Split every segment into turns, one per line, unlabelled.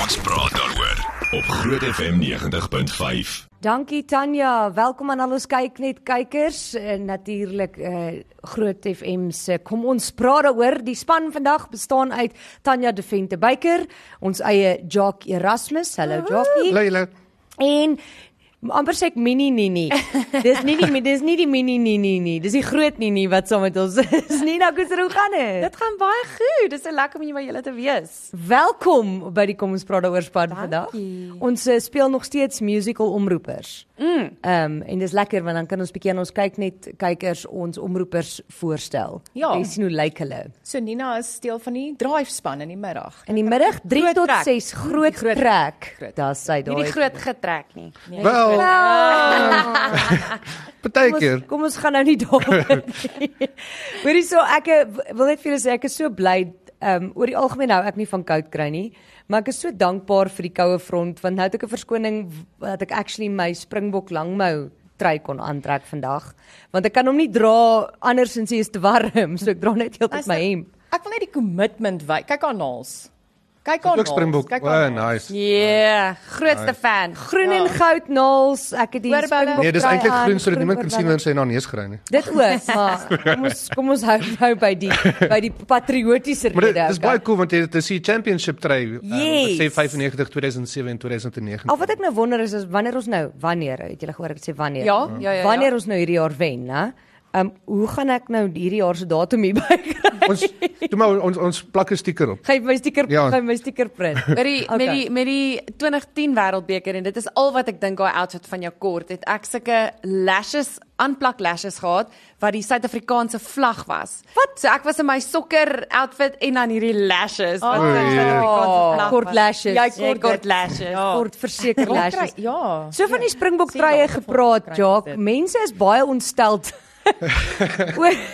Ons praat daaroor op Groot FM 90.5.
Dankie Tanya, welkom aan al ons kyk net kykers en natuurlik eh Groot FM se kom ons praat daaroor. Die span vandag bestaan uit Tanya De Vente Beyker, ons eie Jock Erasmus. Hallo Jockie.
Leila.
En amper sê ek mini nini. Dis nie die dis nie die mini nini nie. Dis die groot nini wat saam met ons is. Nina, hoe gaan dit?
Dit gaan baie goed. Dit is so lekker om hier by julle te wees.
Welkom by die Kom ons praat daaroor span vandag.
Dankie.
Ons eh, speel nog steeds musical omroepers. Mm. Ehm um, en dis lekker want dan kan ons bietjie aan ons kyk net kykers ons omroepers voorstel.
Ja.
Jy sien hoe lyk hulle.
So Nina is deel van die drive span in die middag.
In die middag 3
Groot
tot
trek.
6 groot, groot trek.
groot.
Daar sy daai.
Hierdie groot getrek nie. Nee.
Wel,
Kom ons,
partykeer.
kom ons gaan nou nie daaroor. nie. Hoorie so ek eh, w- wil net vir julle sê ek is so bly ehm um, oor die algemeen nou ek nie van koud kry nie, maar ek is so dankbaar vir die koue front want nou het ek 'n verskoning w- dat ek actually my Springbok langmou trui kon aantrek vandag want ek kan hom nie dra andersins hy is te warm so ek dra net heeltyd my hemp.
Ek wil net die commitment wy. Kyk haar naels. Kyk haar
Ook
naels.
Springbok.
Kyk Ja,
Oh,
naels.
nice.
Yeah, grootste fan.
Groen ja. en goud naels, ek het die
Oorbelle.
Springbok
Nee, dis
trui
eintlik
aan,
groen sodat niemand kan
oorbelle.
sien wanneer sy na neus gry nie.
Dit ook, maar kom ons kom ons hou nou by die by die patriotiese rede.
Maar dit dis
okay?
baie cool want dit is die championship trui. ehm, wat Sê
Yes.
95 2007 en 2009.
Al wat ek nou wonder is is wanneer ons nou, wanneer het julle gehoor ek sê wanneer?
Ja, ja, ja, ja.
Wanneer ons nou hierdie jaar wen, né? Ehm um, hoe gaan ek nou hierdie jaar se datum hier by kry?
Ons doen maar ons ons plak 'n sticker op.
Gaan jy my sticker,
Ja.
ja. gaan jy my sticker print.
Met die okay. met
Okay.
die met die 2010 Wêreldbeker en dit is al wat ek dink daai outfit van jou kort het ek sulke lashes aanplak lashes gehad wat die Suid-Afrikaanse vlag was. Wat? So ek was in my sokker outfit en dan hierdie lashes wat
Oh,
die
ja.
Suid-Afrikaanse vlag
Kort
was.
lashes.
Ah, Jy kort,
Jy kort
kort lashes.
Ja.
Kort verseker
Waar kry-
lashes.
Ja.
So van die Springbok
Sien maar,
treye
wat vir
gepraat,
kry
Jock.
dit.
Mense is baie ontsteld oor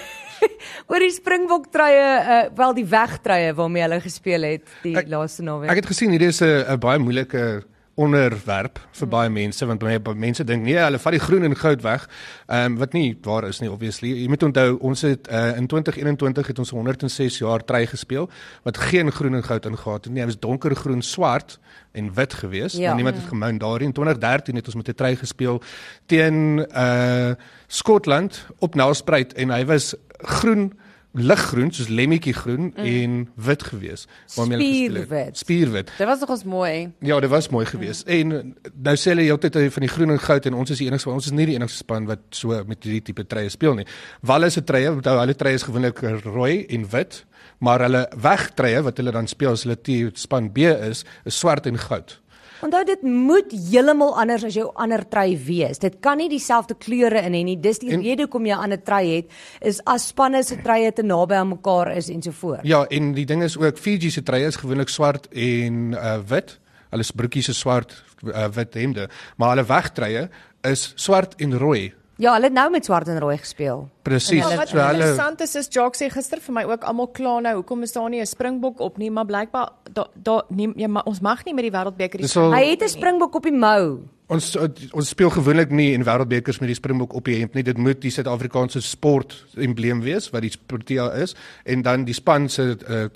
oor die Springbok treye, uh, wel die wegtreye waarmee hulle gespeel het die ek,
Ek-
laaste naweek.
Ek het gesien hierdie is 'n 'n baie moeilike onderwerp vir baie mense want baie baie mense dink nee, hulle vat die groen en goud weg. Ehm um, wat nie waar is nie obviously. Jy moet onthou ons het uh, in 2021 het ons 106 jaar trei gespeel wat geen groen en goud ingehaat het nie. Hy was donkergroen, swart en wit gewees.
Ja.
Ja. Niemand het gemount daarin. In 2013 het ons met 'n trei gespeel teen uh Skotland op Nelspruit en hy was groen liggroen soos lemmetjie groen mm. en wit gewees waarmee hulle gespeel
Spierwit.
het spierwit.
Dit was nogals mooi.
Ja, dit was mooi geweest. Mm. En nou sê hulle heeltyd hy van die groen en goud en ons is die enigste ons is nie die enigste span wat so met hierdie tipe treie speel nie. Wallis se treie, onthou hulle treie is gewoonlik rooi en wit, maar hulle wegtreie wat hulle dan speel as hulle T span B is, is swart en goud.
Onthou dit moet heeltemal anders as jou ander trui wees. Dit kan nie dieselfde kleure in hê nie. Dis die en,
En-
rede hoekom jy 'n ander trui het is as spanne se truie te naby aan mekaar is en so voort.
Ja, en die ding is ook Fiji se treie is gewoonlik swart en uh, wit. Hulle se broekies is swart, uh, wit hemde, maar hulle wegtreie is swart en rooi.
Ja, hulle het nou met swart en rooi gespeel.
Presies.
Maar Ja, wat
So hulle
interessant is is Jock sê gister vir my ook almal kla nou hoekom is daar nie 'n Springbok op nie, maar blykbaar daar daar neem jy ma, ons mag nie met die Wêreldbeker die
Dis al-
Hy het 'n springbok op die mou.
Ons eh, ons speel gewoonlik nie in wêreldbekers met die Springbok op die hemp nie. Dit moet die Suid-Afrikaanse sport embleem wees wat die Protea is en dan die span se uh,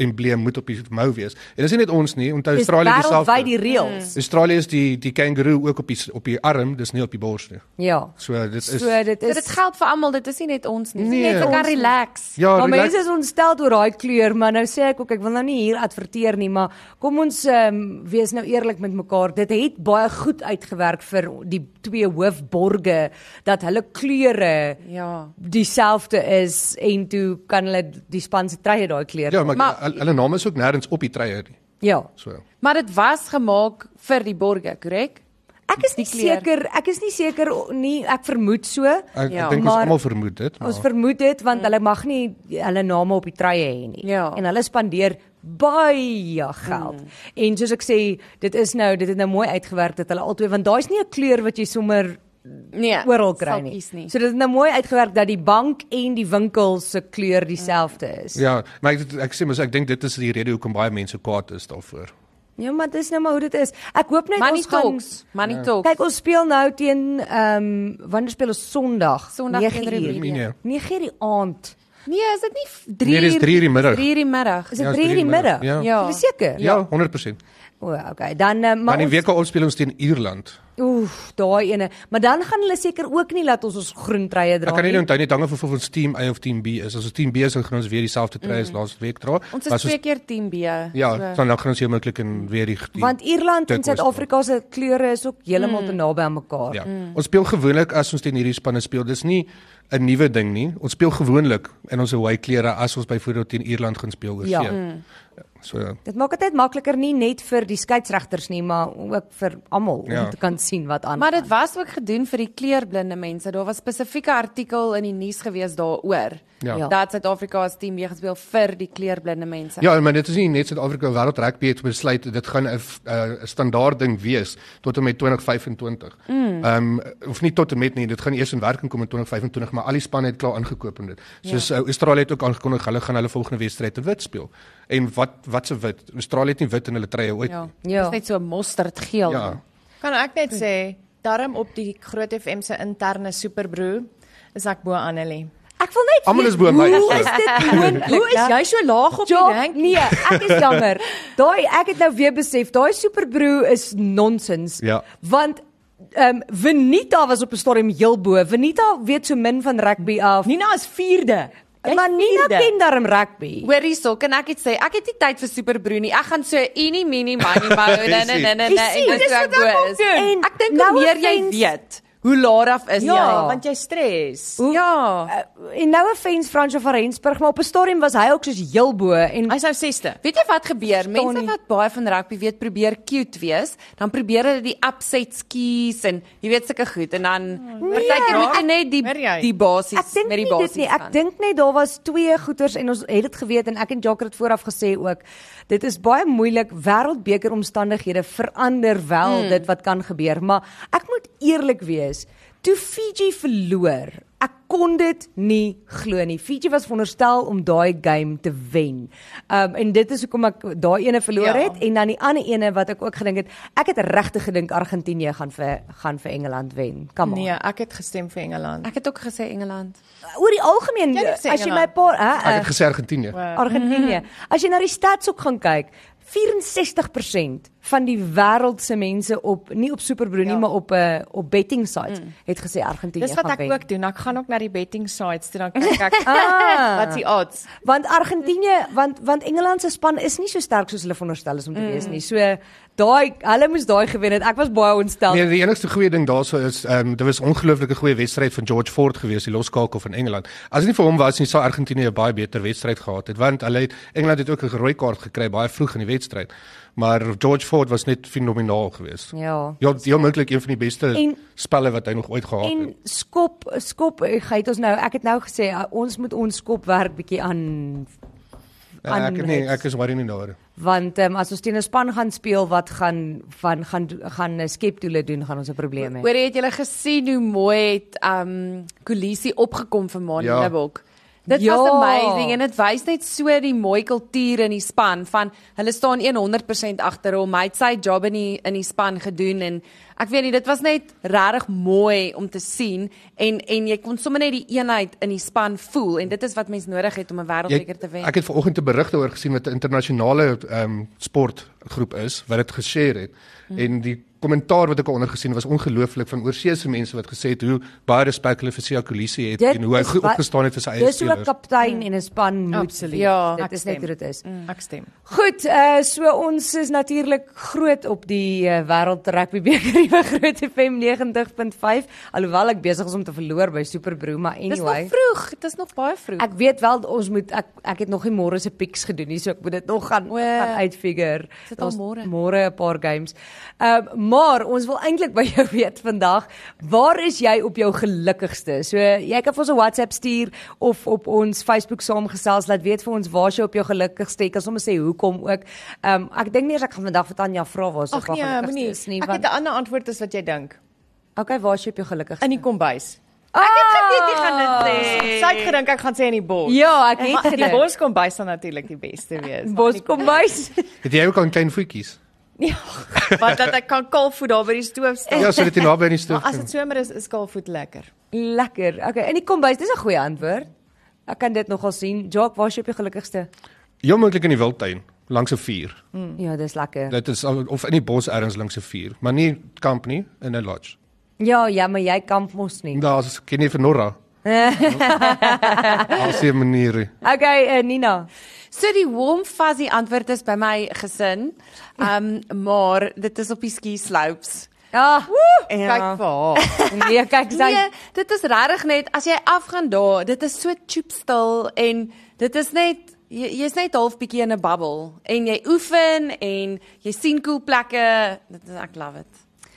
embleem moet op die mou wees. En dis nie net ons nie, onthou
Dis
Australië
wêreldwyd die
dieselfde.
reëls.
Australië is die die kangaroo ook op die s- op die arm, dis nie op die bors nie.
Ja.
Mm. So dit is
So dit
So
is
dit geld vir almal, dit is nie net ons nie.
Nee,
Nee, net ek kan
ons-
relax.
Ja,
maar
relax-
mense is ontstel oor daai kleur, maar nou sê ek ook ek wil nou nie hier adverteer nie, maar kom ons um, wees nou eerlik met mekaar. Dit het baie goed uitgewerk vir die twee hoofborge dat hulle kleure
Ja.
dieselfde is en toe kan hulle die span se treie daai kleur.
Ja, maar,
Maar-
maar hulle naam is ook nêrens op die treier nie.
ja.
So
Maar dit was gemaak vir die borgers, korrek?
Ek is nie
Die kleur.
seker, ek is nie seker o- nie, ek vermoed so.
ek,
Ja.
ja, ek dink ons
Maar-
almal vermoed dit.
Ons
Maar,
vermoed dit want hulle mag nie hulle name op die treie hê nie.
Ja.
En hulle spandeer baie geld. Mm. En soos ek sê, dit is nou dit het nou mooi uitgewerk dat hulle albei want daar's nie 'n kleur wat jy sommer
Nee.
oral kry
sal
nie.
kies nie.
So dit het nou mooi uitgewerk dat die bank en die winkel se kleur dieselfde is.
ja, maar ek ek sê mos ek dink dit is die rede hoekom baie mense kwaad is daarvoor.
ja, maar dis nou maar hoe dit is. Ek hoop net
Money
ons gaan
talks, money
Ja.
talks.
Kyk, ons speel nou teen ehm um, wanneer speel ons Sondag?
Sondag teen
9
Ja. Remedies.
uur.
Nee. nee.
9 uur die aand.
Nee, is dit nie 3
Nee, dis drie uur die middag.
3 uur die middag.
Is dit
Ja,
3 uur die middag?
Ja.
Is jy seker?
Ja, 100%.
O, okay. Dan eh, maar
Maar in
ons,
week opspeel ons teen Ierland.
oef, daai ene. Maar dan gaan hulle seker ook nie laat ons ons groen treye dra
Ek kan nie onthou net hange of of ons team A of team B is. As ons team B is, dan gaan ons weer dieselfde trui
Mm.
as laas week dra.
Ons
Maar
is
as Ja. ons-
twee keer team B.
Ja,
so.
dan dan gaan ons heel moontlik in weer die, die
Want Ierland en
turquoise dra.
Suid-Afrika se kleure is ook heeltemal te naby aan mekaar.
Ja. Ons speel gewoonlik as ons teen hierdie spanne speel. Dis nie 'n nuwe ding nie. Ons speel gewoonlik in ons away klere as ons byvoorbeeld teen Ierland gaan speel oor
Ja.
see. So ja.
Dit maak dit net makliker nie net vir die skeieregters nie, maar ook vir almal om
Ja.
te kan sien wat aan.
Maar dit was ook gedoen vir die kleurblinde mense. Daar was spesifieke artikel in die nuus gewees daaroor.
Ja. Ja.
Dat Suid-Afrika as team weer gespeel vir die kleurblinde mense.
Ja, maar dit is nie net Suid-Afrika wêreld rugby het besluit dit gaan 'n f- 'n standaard ding wees tot en met 2025. Ehm um, of nie tot en met nie, dit gaan eers in werking kom in 2025, maar al die spanne het klaar aangekoop in dit. Soos ja. Australië het ook aangekondig hulle gaan hulle volgende wedstryd te wit speel. En wat wat se wit? Australië het nie wit in hulle treë ooit.
Ja.
nie.
Ja.
Dis net so mosterdgeel.
ja.
Kan ek net sê, darm op die Groot FM se interne superbroer is ek bo Annelie.
Ek wil net
Almal
weet,
is bo my,
Hoe
so.
is dit moontlik?
Hoe is
dat-
jy so laag op die
Ja,
rank?
nee, ek is jammer. Daai ek het nou weer besef, daai superbroe is nonsens.
Ja.
Want ehm um, Venita was op 'n storm heel bo. Venita weet so min van rugby af.
Nina is 4de.
maar Nina ken darm rugby.
Hoor hierso, kan ek iets sê? Ek het nie tyd vir superbroe nie. Ek gaan so enie mini mini mou nee nee nee nee
Jy
nee,
sien,
en
dis
dis
wat
wat
ek
ek
ook
is.
doen. En
Ek dink
nou
hoe meer jy
offense-
weet, hoe laat af is
Ja,
jy.
ja, want jy stres.
Hoe-
Ja.
Uh, en nou 'n fans Fransjo van Rensburg, maar op 'n storm was hy ook soos heel bo en
Hy's nou 6de.
Weet jy wat gebeur? Mense
nie.
wat baie van rugby weet, probeer cute wees, dan probeer hulle die upset skis en jy weet sulke goed en dan
Oh,
partykeer moet jy net die
Hoor jy?
die basies
nee. Ek dink
met die
nie dit
basies.
nie. Ek dink net daar was twee goeters en ons het dit geweet en ek en Jacques het vooraf gesê ook. Dit is baie moeilik wêreldbeker omstandighede verander wel hmm. dit wat kan gebeur, maar ek moet eerlik wees. Toe Fiji verloor, ek kon dit nie glo nie. Fiji was veronderstel om daai game te wen. Um en dit is hoekom ek daai ene verloor
Ja.
het en dan die ander ene wat ek ook gedink het, ek het regtig gedink Argentinië gaan vir gaan vir Engeland wen. Kom aan.
Nee, ek het gestem vir Engeland.
Ek het ook gesê Engeland.
Oor die algemeen
Jy het
as
gesê
jy my
Engeland.
paar hè,
Ek
eh,
het gesê Argentinië.
Wow.
Argentinië. As jy na die stats ook gaan kyk, 64% van die wêreld se mense op nie op Superbro nie,
Ja. Mm.
maar op 'n op betting sites het gesê Argentinië
Dis
gaan
wat
wen.
ek ook doen. Ek gaan ook na die betting sites toe dan kyk ek
Ah.
wat is die odds.
Want Argentinië, want want Engeland se span is nie so sterk soos hulle veronderstel is om te
Mm.
wees nie. So daai hulle moes daai gewen het. Ek was baie ontstel.
Nee, die enigste goeie ding daarso is ehm um, dit was 'n ongelooflike goeie wedstryd van George Ford gewees, die loskakel van Engeland. As dit nie vir hom was nie, sou Argentinië 'n baie beter wedstryd gehad het, want hulle het Engeland het ook 'n rooi kaart gekry baie vroeg in die wedstryd. Maar George Ford was net fenomenaal geweest.
Ja.
Ja, heel moontlik een van die beste
En-
en, spelle wat hy nog ooit gehad het.
En skop skop eh, geit ons nou. Ek het nou gesê ah, ons moet ons skop werk bietjie aan
Ja, ek nee,
aanreeds.
ek is worry nie daar.
want um, as ons teen 'n span gaan speel wat gaan van gaan gaan eh, skeptoele doen, gaan ons 'n probleem hê.
Hoor jy het julle gesien hoe mooi het um Kolisi opgekom vir Maan
Ja.
Libbok. Dit
Ja.
ja. was amazing en dit wys net so die mooi kultuur in die span van hulle staan 100% agter hom. Hy het sy job in die in die span gedoen en ek weet nie dit was net regtig mooi om te sien en en jy kon sommer net die eenheid in die span voel en dit is wat mens nodig het om 'n wêreldbeker te wen.
Ek het ver oggend 'n berig daaroor gesien wat 'n internasionale ehm um, sportgroep is wat dit geshare het. Hmm.
Hm.
En die kommentaar wat ek onder gesien was ongelooflik van oorsee se mense wat gesê het hoe baie respek hulle vir Sia Kolisi het
Dit
en hoe hy
is
goed
wat-
opgestaan het vir sy eie
Dis hoe 'n
spelers.
kaptein en 'n span moet
Absoluut.
wees.
Ja,
dit
Oh, ek
is net
stem. Mm.
hoe dit is.
Ek stem.
Goed, uh so ons is natuurlik groot op die uh, wêreld rugby beker hier groot FM 90.5 alhoewel ek besig is om te verloor by Superbro, maar
Dis
anyway.
nog vroeg, dit is nog baie vroeg.
Ek weet wel ons moet ek ek het nog nie môre se picks gedoen nie, so ek moet dit nog gaan
O,
gaan uitfigure.
is dit al
Daar's
môre?
Môre 'n paar games. Ehm um, maar ons wil eintlik by jou weet vandag, waar is jy op jou gelukkigste? So jy kan vir ons 'n WhatsApp stuur of op ons Facebook saamgesels laat weet vir ons waar is jy op jou gelukkigste. Jy kan sommer sê hoekom ook. Ehm um, ek dink nie eers ek gaan vandag vir Tanya vra waar sy op
Ag
haar
nee,
gelukkigste
moenie.
is nie,
Ek
want
het 'n ander antwoord as wat jy dink.
okay, waar is jy op jou gelukkigste?
In die kombuis.
Ek het
Weet jy gaan
Ah.
dit sê. Sy het gedink ek gaan sê in die bos.
Ja, ek het
Maar die
gedink.
bos kombuis sal natuurlik die beste wees.
Bos kom bys.
Het jy ook al klein voetjies?
Ja, want dat ek kan kaalvoet daar by die stoof staan.
Ja, so dit naby aan die stoof.
Maar as dit somer is, is kaalvoet lekker.
Lekker. Okay, in die kombuis, dis 'n goeie antwoord. Ek kan dit nogal sien. Jacques, waar's jy op jou gelukkigste?
Heel moontlik in die wildtuin. langs 'n vuur.
Ja, dis lekker.
Hmm. Dit is al- of in die bos ergens langs 'n vuur, maar nie kamp nie in 'n lodge.
Ja, ja, maar jy kamp mos nie.
Daar's ken jy vir Norra? As jy manier.
Okay, uh, Nina.
So die warm fuzzy antwoord is by my gesin. Ehm um, maar dit is op die ski slopes.
Ja,
Ah.
Ja.
Kyk vir haar.
nee, kyk sy.
Nee, dit is regtig net as jy afgaan daar, dit is so choopstil en dit is net jy- jy's net half bietjie in 'n bubble en jy oefen en jy sien cool plekke. Dit is ek love it.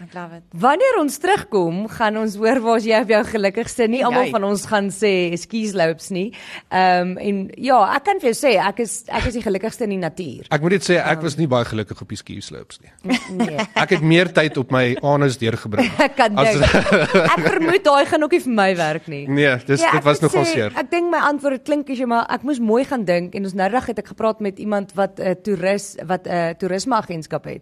Ek love it.
Wanneer ons terugkom, gaan ons hoor waar's jy op jou gelukkigste. Nie almal
Jy.
van ons gaan sê skis loops nie. Ehm um, en ja, ek kan vir jou sê ek is ek is die gelukkigste in die natuur.
Ek moet dit sê ek was nie baie gelukkig op die ski slopes nie.
Ehm. Nee.
Ek het meer tyd op my anus deurgebring.
Ek kan
As-
dink. Ek vermoed daai gaan ook nie vir my werk nie.
Nee, dis
Ja,
dit
ek
was
moet
nogal
sê,
seer.
Ek dink my antwoord klink as jy maar ek moes mooi gaan dink en ons noudag het ek gepraat met iemand wat 'n uh, toerus wat 'n uh, toerismeagentskap het.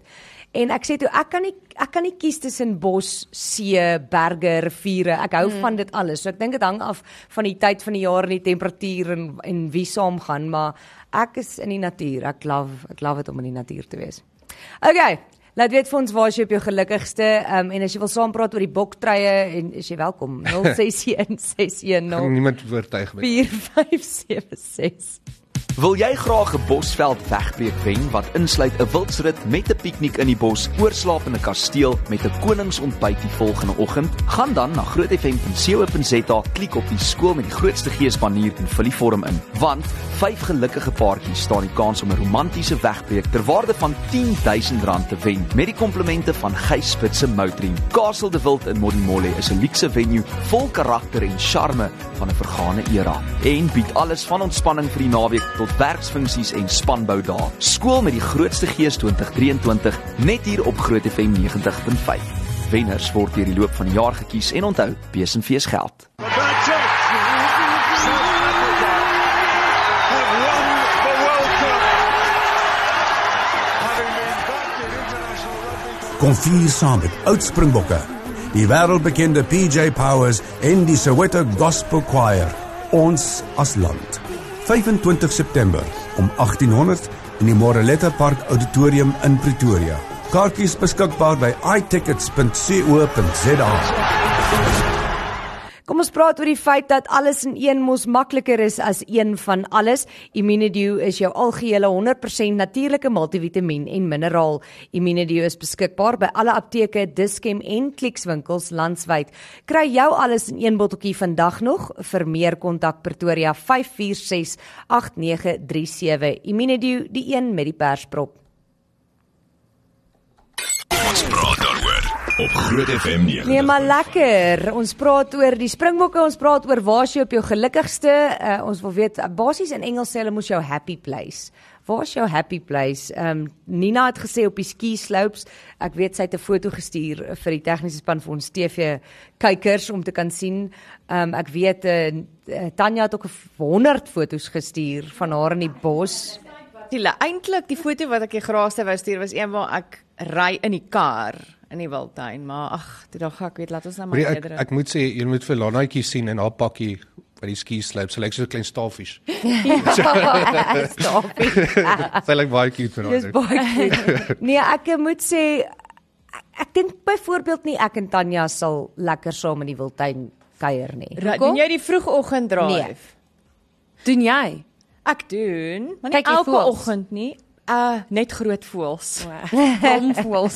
En ek sê toe ek kan nie ek kan nie kies tussen bos, see, berge, riviere. Ek hou mm. van dit alles. So ek dink dit hang af van die tyd van die jaar en die temperatuur en en wie saam gaan, maar ek is in die natuur. Ek love ek love dit om in die natuur te wees. Okay. Laat weet vir ons waar is jy op jou gelukkigste um, en as jy wil saampraat oor die boktreie en is jy welkom 061 610
Kan niemand oortuig my.
4576.
Wil jy graag 'n Bosveld wegbreek wen wat insluit 'n wildsrit met 'n piknik in die bos, oorslaap in 'n kasteel met 'n koningsontbyt die volgende oggend? Gaan dan na grootfm.co.za, klik op die skool met die grootste geesbanier en vul die vorm in. Want vyf gelukkige paartjies staan die kans om 'n romantiese wegbreek ter waarde van R10000 te wen met die komplimente van Gys Spit se Moutream. Castle de Wild in Modimolle is 'n luukse venue vol karakter en charme van 'n vergane era en bied alles van ontspanning vir die naweek tot werksfunksies en spanbou dae. Skool met die grootste gees 2023 net hier op Groot FM 90.5. Wenners word deur die loop van die jaar gekies en onthou, besenfees geld.
Kom vier saam met oud Springbokke, die wêreldbekende PJ Powers en die Soweto Gospel Choir. Ons as land. 25 September om 1800 in die Moreletta Park Auditorium in Pretoria. Kaartjies beskikbaar by itickets.co.za.
Kom ons praat oor die feit dat alles in een mos makliker is as een van alles. Immunedew is jou algehele 100% natuurlike multivitamiën en mineraal. Immunedew is beskikbaar by alle apteke, Dischem en Clicks-winkels landwyd. Kry jou alles in een botteltjie vandag nog. Vir meer kontak Pretoria 546 8937. Immunedew, die een met die persprop.
Ons praat daaroor op Groot FM 90.5.
Nee, maar lekker. Ons praat oor die Springbokke, ons praat oor waar is jy op jou gelukkigste? Uh, ons wil weet uh, basies in Engels sê hulle moes jou happy place. Waar is jou happy place? Ehm um, Nina het gesê op die ski slopes. Ek weet sy het 'n foto gestuur vir die tegniese span vir ons TV kykers om te kan sien. Ehm um, ek weet eh, eh, Tanya het ook 100 foto's gestuur van haar in die bos.
Tila, eintlik die foto wat ek die graaste wou stuur was een waar ek ry in die kar in die wildtuin, maar ag, toe dog ek weet laat ons nou maar
Maar ek
eerder.
ek moet sê jy moet vir Lanaatjie sien in haar pakkie by die ski slopes. Sy lyk so 'n klein staalvis.
Ja. Stop.
Sy lyk baie cute vir
Dis
haar.
baie goed. Nee, ek moet sê ek, ek dink byvoorbeeld nie ek en Tanya sal lekker saam in die wildtuin kuier nie.
Ra- doen jy die vroegoggend
Nee.
drive?
Doen jy?
Ek doen, maar nie
Kyk jy
elke
voëls?
oggend nie. Uh net groot voëls.
Domvoels.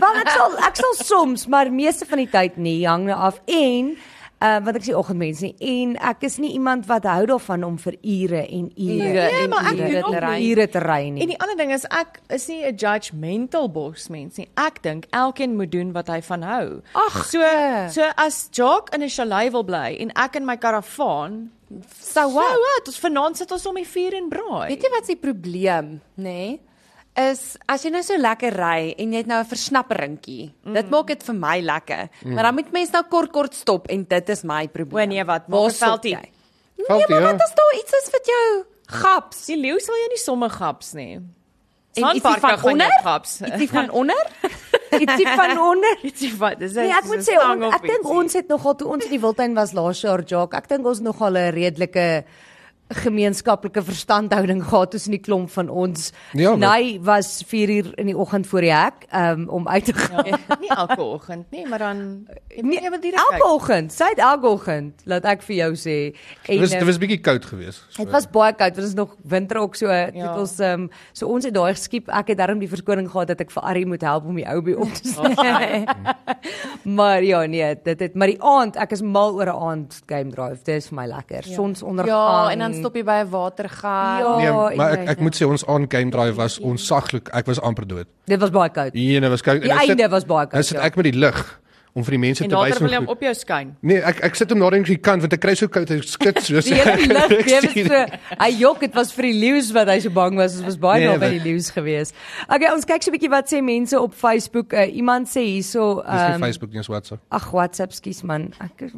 Wel ek sal ek sal soms, maar meeste van die tyd nie, hang nou af en uh want ek is nie oggendmens nie en ek is nie iemand wat hou daarvan om vir ure en ure
Ure
en
en
Nee, maar ek
ure
doen
te
ook
ry.
nie.
Ure te ry
En
nie.
die ander ding is ek is nie 'n judgmental bosmens nie. Ek dink elkeen moet doen wat hy van hou.
Ag,
so so as Jock in 'n chalet wil bly en ek in my karavaan,
So
so
what?
wat? Ons vanaand sit ons om die vuur en braai.
Weet jy wat se probleem, nê? Nee? Is as jy nou so lekker ry en jy het nou 'n versnapperingkie. Mm. Dit maak dit vir my lekker. Mm. Maar dan moet mens nou kort kort stop en dit is my probleem.
O, nee, wat? Maak
Waar
het
stop
veldie.
jy? Nee,
Veldie,
maar
ja.
wat as daar iets is wat jou gaps?
Die leeu sal jy nie somme gaps nie.
En ietsie
Sandparke
van
gaan jou
onder?
Gaps.
Ietsie van onder?
Ietsie van onder.
Ietsie wat? Dis
Nee, ek
soos
moet
'n
sê on,
stang op
ek dink
ietsie.
ons het nogal toe ons in die wildtuin was laas jaar, Jacques, ek dink ons nogal 'n redelike gemeenskaplike verstandhouding gehad tussen die klomp van ons.
Ja, maar-
Nay was 4 uur in die oggend voor die hek um, om uit te gaan.
nie elke oggend nie, maar dan jy moet jy wil direk
Nee, elke oggend, sy het elke oggend, laat ek vir jou sê. En
Dit was dit
ehm,
was bietjie koud geweest.
Dit was baie koud, want dit is nog winter ook so. Ja.
Ja.
Dit ons um, so ons het daai geskiep. Ek het darm die verskoning gehad dat ek vir Arrie moet help om die ouby op te
Ja.
sit. maar ja, nee, dit het maar die aand, ek is mal oor 'n aand game drive. Dit is vir my lekker. Ja. Sonsondergang.
Ja, en dan stop jy by 'n watergat.
Ja,
Nee, maar ek
weet
ek moet sê ons aan game drive was onsaglik. Ek was amper dood.
Dit was baie koud.
Hierne was koud.
Die
Ja, dan sit-
einde was baie koud,
Dan sit
ja.
ek met die lig om vir die mense
En
te wys
later
hoe
wil jy hom
goed-
op jou skyn.
Nee, ek ek sit hom daar in die kant want ek kry so koud, ek skit so.
Die hele lig, jy weet so, hy jok, dit was vir die leeu's wat hy so bang was. Ons was baie
Nee,
naby
maar-
die leeu's gewees. Okay, ons kyk so 'n bietjie wat sê mense op Facebook. Uh, iemand sê hierso
Dis nie
ehm
Facebook nie, dis WhatsApp.
ag WhatsApp, skus man. Ek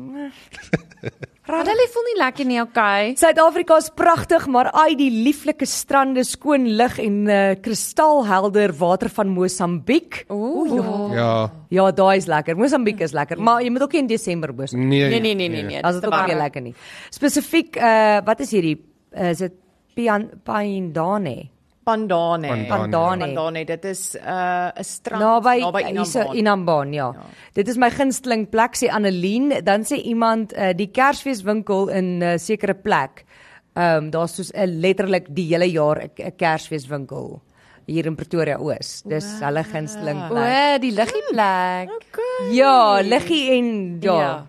Hulle voel nie lekker nie, okay.
Suid-Afrika is pragtig, maar ai die lieflike strande, skoon lug en uh, kristalhelder water van Mosambiek.
Ooh.
Ja.
Ja, daai is lekker. Mosambiek is lekker, maar jy moet ook nie in Desember boos wees.
Nee.
Nee nee nee nee nee.
As dit ook nie lekker nie. Spesifiek uh wat is hierdie uh, is dit Pian Paindane
Pandane.
Pandane.
Pandane
Pandane, dit is 'n uh, 'n strand
naby
naby
hierse
Inambaan.
Inambaan ja. Dit is my gunsteling plek sê Annelien, dan sê iemand uh, die Kersfeeswinkel in 'n uh, sekere plek. Ehm um, daar's soos 'n letterlik die hele jaar 'n- 'n Kersfeeswinkel hier in Pretoria Oos. Dis hulle gunsteling
O,
plek.
die liggie plek.
Ja, liggie en ja. ja.
Ja.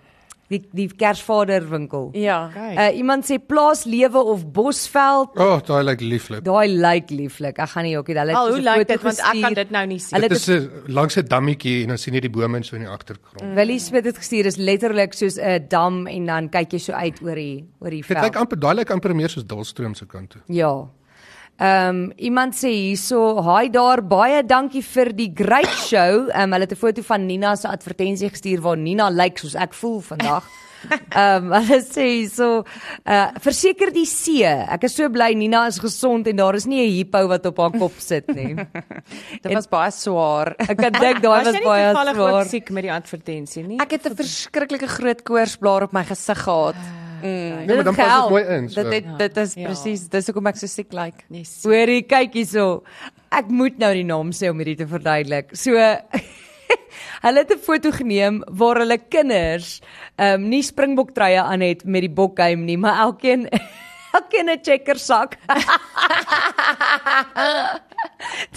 Die die Kersvaderwinkel.
Ja.
Uh, iemand sê plaaslewe of bosveld
O, oh, daai lyk lieflik.
Daai lyk lieflik. Ek gaan nie jokkie, hulle het
Al
soos
Oh,
'n
hoe lyk
foto
dit want ek kan
gestuur.
dit nou nie sien.
Hulle
Dit
het
is 'n langs 'n dammetjie en dan sien jy die bome en so in die agtergrond.
Willie Smit het gestuur is letterlik soos 'n dam en dan kyk jy so uit oor die oor die
Dit lyk
veld.
amper daai lyk amper meer soos Dalstroom se kant toe.
Ja. Ehm um, iemand sê hierso, "Hi daar, baie dankie vir die great show." Ehm um, hulle het 'n foto van Nina se advertensie gestuur waar Nina lyk soos ek voel vandag. Ehm um, hulle sê hierso, uh, "Verseker die see. Ek is so bly Nina is gesond en daar is nie 'n hippo wat op haar kop sit nie."
Dit was baie swaar.
Ek kan dink daai was baie
Jy was baie
swaar.
siek met die advertensie nie.
Ek het 'n verskriklike groot koorsblaar op my gesig gehad.
Ah,
Mm.
Nee, maar dan
het
pas dit
gehelp.
mooi in. So.
Dit het, dit is
Ja.
presies dis hoekom ek so siek lyk. Like.
nee, siek.
Hoorie, kyk hierso. Ek moet nou die naam sê om hierdie te verduidelik. So hulle het 'n foto geneem waar hulle kinders ehm um, nie springboktreye aan het met die bokheim nie, maar elkeen elkeen 'n checkersak.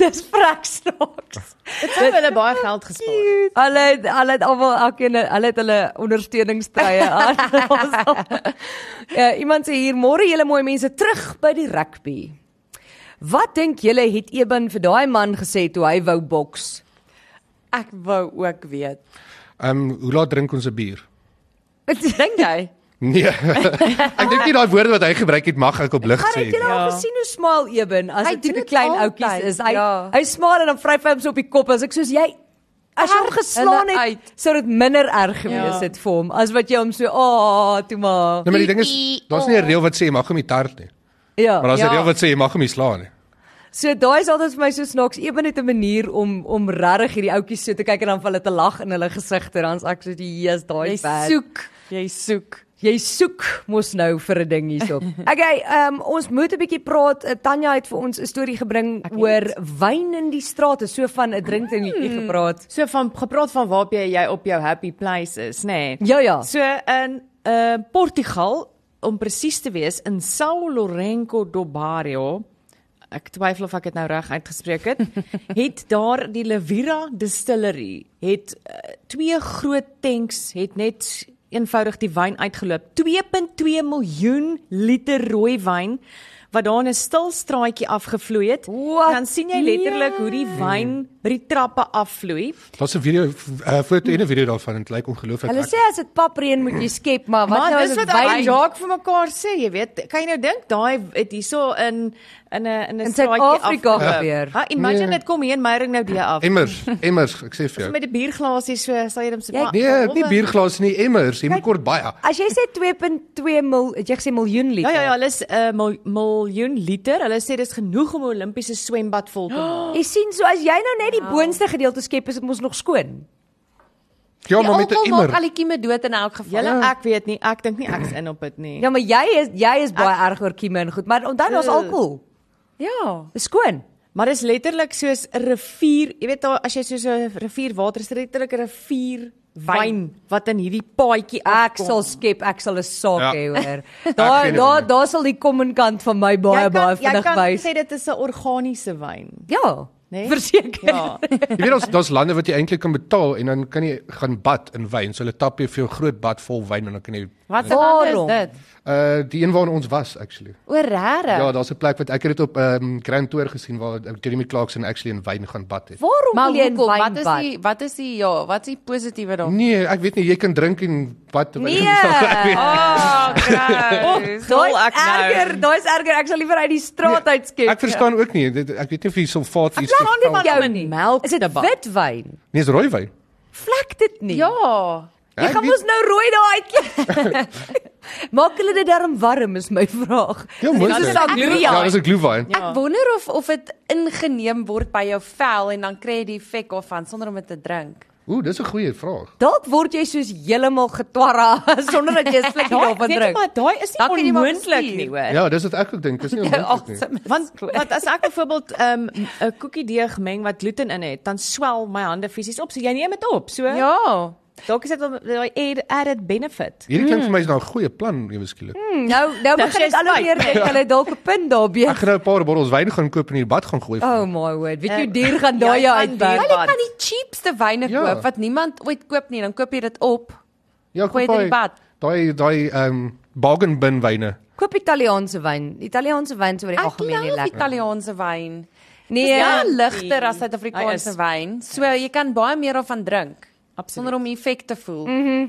Dis vreksnaaks.
Dit sou hulle baie geld gespaar. het.
Hulle het, hulle het almal elkeen hulle het hulle ondersteuningstrye aan. uh, iemand sê hier môre julle mooi mense terug by die rugby. Wat dink julle het Eben vir daai man gesê toe hy wou boks?
Ek wou ook weet.
Ehm um, hoe laat drink ons 'n bier?
Dink jy?
Nee. ek dink nie daai woorde wat hy gebruik het mag ek op lig
Maar
sê
het julle
nie.
al gesien hoe smal Eben as
Ja. Hy
hy
doen
dit 'n
dit
klein
altyd,
ouetjie is? Hy
ja.
hy smal en dan vryf hy hom so op die kop as ek soos jy As jy hom
Erg
geslaan
hulle
het,
uit.
sou dit minder erg gewees ja. het vir hom as wat jy hom so, "Ag, oh, toe maar."
Nee, maar die ding is daar's nie 'n reël wat sê jy mag hom nie tart nie.
Ja.
Maar daar's 'n
Ja.
reël wat sê jy mag hom nie slaan nie.
So daai is altyd vir my so snaaks, ewen net 'n manier om om regtig hierdie ouetjies so te kyk en dan vir hulle te lag in hulle gesigte, dan's ek so die Jesus daai
Jy
bad.
soek, jy soek.
jy soek mos nou vir 'n ding hierso. Okay, ehm um, ons moet 'n bietjie praat. Uh, Tanya het vir ons 'n storie gebring oor wyn in die strate, so van 'n drinkdingetjie gepraat.
So van gepraat van waar jy jy op jou happy place is, nê. Nee.
Ja ja.
So in uh Portugal om presies te wees in São Lourenço do Barrio ek twyfel of ek dit nou reg uitgespreek het het daar die Levira Distillery het uh, twee groot tanks het net eenvoudig die wyn uitgeloop 2.2 miljoen liter rooi wyn wat daar in 'n stil straatjie afgevloei het
Wat?
dan sien jy letterlik hoe die wyn by die trappe afvloei
Daar's 'n video uh, foto en 'n video daarvan en dit lyk ongelooflik.
Hulle
Ek-
sê as dit papreën moet jy skep, maar wat
Maar
nou as
dis
dit
wat hy
wyn?
en Jacques vir mekaar sê, jy weet, kan jy nou dink daai het hierso in in 'n in 'n
In
straatjie
Suid-Afrika
afgeloop.
gebeur.
Ha, imagine
Nee.
dit kom hier in Meyering nou die af.
Emmers, emmers, ek sê vir jou.
Met 'n bierglasie so sal jy hom so
Jy-
maar-
Nee, nie
behalwe-
bierglas nie, emmers. Jy moet kort baie.
As jy sê 2.2 mil, het jy gesê miljoen
Ja
liter.
ja ja, hulle is 'n uh, miljoen liter. Hulle sê dis genoeg om 'n Olimpiese swembad vol te maak.
Jy sien so as jy nou net die boonste gedeelte skep, is dit mos nog skoon.
Ja, maar met 'n
alkohol maak
emmer.
al die kieme dood in elk geval. Ja.
Julle
Ja.
ek weet nie, ek dink nie ek's in op dit nie.
Ja, maar jy is jy is baie erg oor kieme en goed, maar onthou daar's
Ugh.
alkohol.
ja.
Dis skoon.
Maar dis letterlik soos 'n rivier, jy weet daar as jy soos 'n rivier water is dit letterlik 'n rivier wyn wat in hierdie paadjie
Ek
afkom.
sal skep, ek sal 'n saak
Ja.
hê hoor.
Ek
Daar
gee dit
daar
om.
daar sal die common kant van my baie baie
Jy kan jy
vinnig
kan
wys.
sê dit is 'n organiese wyn,
Ja,
né?
verseker.
Ja.
Jy weet ons daar's lande wat jy eintlik kan betaal en dan kan jy gaan bad in wyn. So hulle tap jy vir jou groot bad vol wyn en dan kan jy
Wat se land is
Waarom?
dit?
uh die een waarin ons was actually.
O, regtig?
Ja, daar's 'n plek wat ek het dit op um Grand Tour gesien waar uh, Jeremy Clarkson actually in wyn gaan bad het.
Waarom
maar
wil jy in
hoekom?
wyn
Wat is
bad?
die wat is die ja, wat is die positiewe daarvan?
Nee, ek weet nie jy kan drink en bad.
Nee.
Oh, kraai.
Wil
Daai
ek
is
nou?
erger, daai is erger. Ek sal liever uit die straat uit skep.
Nee, Ek verstaan ook nie. Dit, ek weet nie of die sulfaat iets
Vlek
verval-
dit jou
om
nie.
melk
Ja. Is dit
te bak.
witwyn?
Nee, dis rooi wyn.
Vlek dit nie.
Ja.
Jy
Ek
gaan
weet-
mos nou rooi daai uitkry. Maak hulle dit darm warm is my vraag.
Ja, moet
Dis
dit.
is sangria.
Ja, dis 'n glue wyn.
Ek wonder of of dit ingeneem word by jou vel en dan kry jy die effek daarvan sonder om dit te drink.
Ooh, dis 'n goeie vraag.
Dalk word jy soos heeltemal getwarra sonder dat jy 'n slukkie
Daai
daarvan
net
drink.
maar daai is
Dan kan jy
nie
maar
onmoontlik
bestuur.
nie, hoor.
Ja, dis wat ek ook dink. Dis nie onmoontlik nie.
Ja, Awesome.
Want want as ek byvoorbeeld 'n um, 'n koekiedeeg meng wat gluten in het, dan swel my hande fisies op. So jy neem dit op. So
Ja.
dalk is dit wel daai add- added benefit.
Hierdie klink
Hmm.
vir my is nou 'n goeie plan, ewe skielik.
Nou nou begin
jy's
dit al hoe
spyt.
meer dink hulle het dalk 'n punt
Ek
daarbye.
gaan nou 'n paar bottels wyn gaan koop en in die bad gaan gooi.
Oh
Oh.
my word. Weet jy
Eh,
hoe duur gaan
ja,
daai jou
gaan
uitwerk?
duur.
Hulle kan die cheapste wyne
Ja.
koop wat niemand ooit koop nie, dan koop jy dit op.
Ja,
gooi dit in die bad.
Daai daai ehm um, bargain bin wyne.
Koop Italiaanse wyn. Italiaanse wyn is oor die
Ek
algemeen nie
love
lekker.
Italiaanse wyn.
Nee,
Dis ja,
ja,
ligter
Hy
as
is.
Suid-Afrikaanse wyn. So jy kan baie meer daarvan drink
Absoluut.
sonder om die effek te voel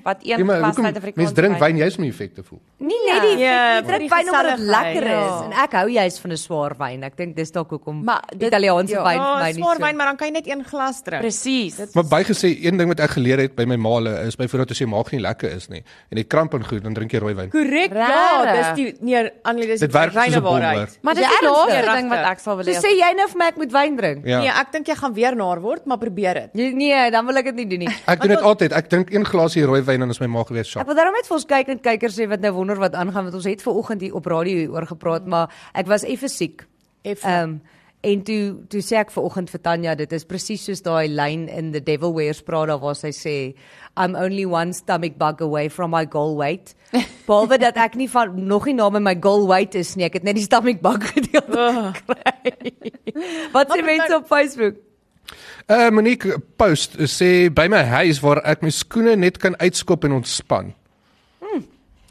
wat
Ja,
een
maar
glas
hoekom mense
Suid-Afrikaanse
drink wyn juis om die effek te voel?
nie net die
Ja,
jy drink
die
wyn omdat dit
geselligheid.
lekker
Ja.
is en ek hou juist van 'n swaar wyn. Ek dink dis dalk hoekom
Maar dit-
Italiaanse
ja.
wyn vir
Ja,
my nie
oh, swaar
so.
wyn, maar dan kan jy net een glas drink.
Presies.
Maar bygesê een ding wat ek geleer het by my maale is byvoorbeeld as jou maag nie lekker is nie en jy kramp en goed, dan drink jy rooi wyn.
Korrek. Ja, dis
Rarig.
die nee, Annelie, dis
Dit
die
werk soos
reine
'n bom hoor.
waarheid.
Maar dis
Ja,
die laaste
ernstig.
ding wat ek sal wil
So
hê.
sê jy nou vir my ek moet wyn drink?
Ja. Nee,
Ja.
ek dink jy gaan weer naar word, maar probeer dit.
Nee, Nee, dan wil ek dit nie doen nie.
Ek doen dit altyd. Ek drink een glasie rooi wyn en dan is my maag weer
Ek
sharp.
wil daarom net vir ons kyk en kykers sê wat nou wonder wat aangaan want ons het ver oggend hier op radio hier oor gepraat, maar ek was effe siek.
Effe.
Ehm um, en toe toe sê ek ver oggend vir Tanya, dit is presies soos daai lyn in The Devil Wears Prada waar sy sê I'm only one stomach bug away from my goal weight. Behalwe dat ek nie van nog nie naby my goal weight is nie, ek het net die stomach bug gedeelte gekry. wat sê mense op Facebook?
Uh Monique post uh, sê by my huis waar ek my skoene net kan uitskop en ontspan.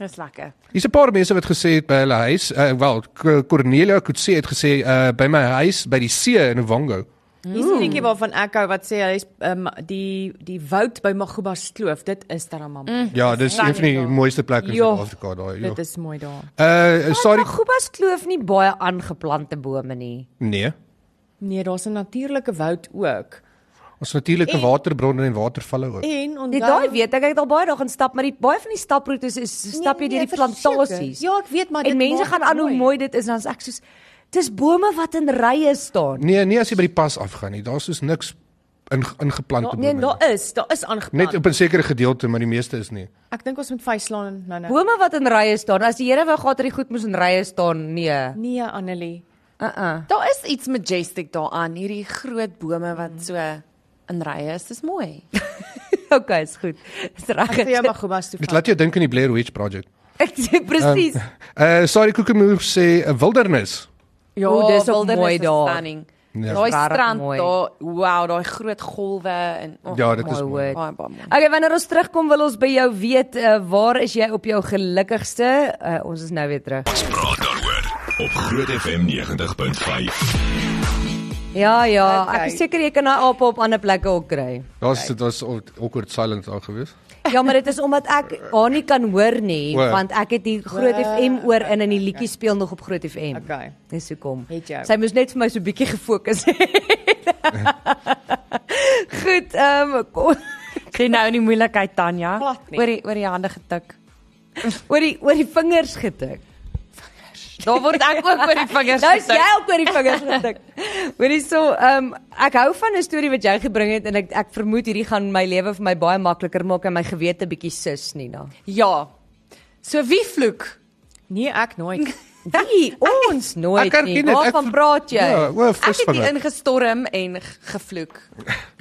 Dis lekker.
Hier's 'n paar mense wat gesê het by hulle huis, uh, wel K- Cornelia Kutse het gesê uh, by my huis by die see in Nwango.
Hier's
hmm.
'n liedjie waarvan ek hou wat sê hy's um, die die woud by Magubas Kloof. Dit is Taramam. Mm,
Ja, dis een van die mooiste plekke in
Ja.
Suid-Afrika daai.
dit
ja.
is mooi daar.
Uh sorry.
Maar Gubas Kloof nie baie aangeplante bome nie.
Nee.
Nee, daar's 'n natuurlike woud ook.
Ons natuurlike
En-
waterbronne en watervalle ook.
En
Dit
onthou
daai weet ek ek het al baie daar gaan stap, maar die baie van die staproetes is
Nee,
stap jy deur die plantasies.
Ja, ek weet maar dit
en mense
maak
gaan
dit
aan hoe mooi dit is en dan is ek soos dis bome wat in rye staan.
Nee, nie as jy by die pas afgaan nie. Daar's soos niks in ingeplant
Daar,
op.
nee, daar is, daar is aangeplant.
Net op 'n sekere gedeelte, maar die meeste is nie.
Ek dink ons moet vyslaan nou nou.
Bome wat in rye staan. As die Here wou gehad het die goed moes in rye staan. Nee.
Nee, Annelie.
Uh-uh.
Daar is iets majestic daaraan, hierdie groot bome wat so in rye is. Dis mooi.
Okay, is goed. Dis reg.
Ek sê jy mag Gubas toe.
Dit
vat.
laat jou dink aan die Blair Witch Project.
Ek sê presies.
Uh sorry Kokemoe sê 'n wildernis.
Ja,
O, dis ook
wildernis
mooi
is
daar.
stunning.
Ja.
Daai
Dis rarig
strand
mooi.
daar, wow, daai groot golwe en oh,
Ja, dit is
my
mooi.
word.
baie baie mooi.
Okay, wanneer ons terugkom wil ons by jou weet uh, waar is jy op jou gelukkigste? Uh, ons is nou weer terug.
Praat daaroor op Groot FM 90.5.
Ja, ja, okay.
Okay.
ek is seker jy kan daai aap op ander plekke ook kry.
Daar's dit was awkward silence daar gewees.
Ja, maar dit is omdat ek haar nie kan hoor nie,
O.
want ek het die Groot FM oor in en die liedjie speel nog op Groot FM.
Okay.
Dis hoekom.
Het jou.
Sy moes net vir my so bietjie gefokus het. Goed, ehm um,
Sê nou in die moeilikheid Tanya,
Glad nie.
oor die oor die hande getik.
oor die oor die vingers getik.
Daar word ek ook oor die vingers
Nou is
getik.
jy ook oor die vingers getik. Hoor hierso, ehm ek hou van 'n storie wat jy gebring het en ek ek vermoed hierdie gaan my lewe vir my baie makliker maak en my gewete bietjie sus, Nina.
Ja. So wie vloek?
Nee, ek nooit.
Wie ons nooit
ek erken
nie.
dit, ek
Waarvan
ver-
praat jy?
Ja, o,
Ek het nie
visvanger.
ingestorm en g- gevloek.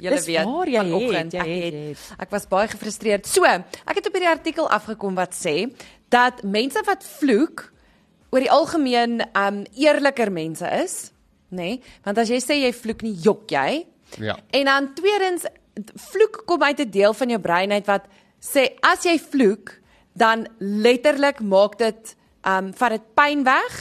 Julle
Dis
weet,
waar, jy het,
vanoggend,
jy
ek
het,
het,
jy
ek was baie gefrustreerd. So, ek het op hierdie artikel afgekom wat sê dat mense wat vloek oor die algemeen um eerliker mense is, nê? Nee? Want as jy sê jy vloek nie, jok jy.
Ja.
En dan tweedens d- vloek kom uit 'n deel van jou brein uit wat sê as jy vloek, dan letterlik maak dit um vat dit pyn weg.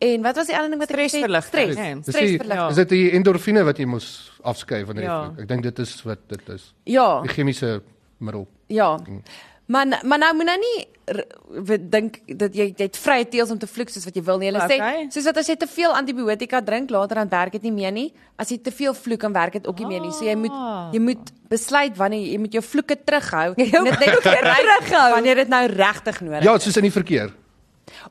En wat was die ander ding wat ek gesê het?
Stresverligting,
Stres.
nê?
Dis
stres
die,
verlig.
is dit die endorfine wat jy moes afskei wanneer jy
Ja.
vloek? Ek dink dit is wat dit is.
Ja.
Die chemiese middel.
Ja.
Hm.
Maar n- maar nou moet nou nie r- we- dink dat jy jy het vrye teels om te vloek soos wat jy wil nie. Hulle
Okay.
sê soos dat as jy te veel antibiotika drink, later dan werk dit nie meer nie. As jy te veel vloek, dan werk dit ook nie meer nie. So jy
Ah.
moet jy moet besluit wanneer jy moet jou vloeke terughou. en
Jou
dit net
terughou.
wanneer dit nou regtig nodig
Ja, soos in die verkeer.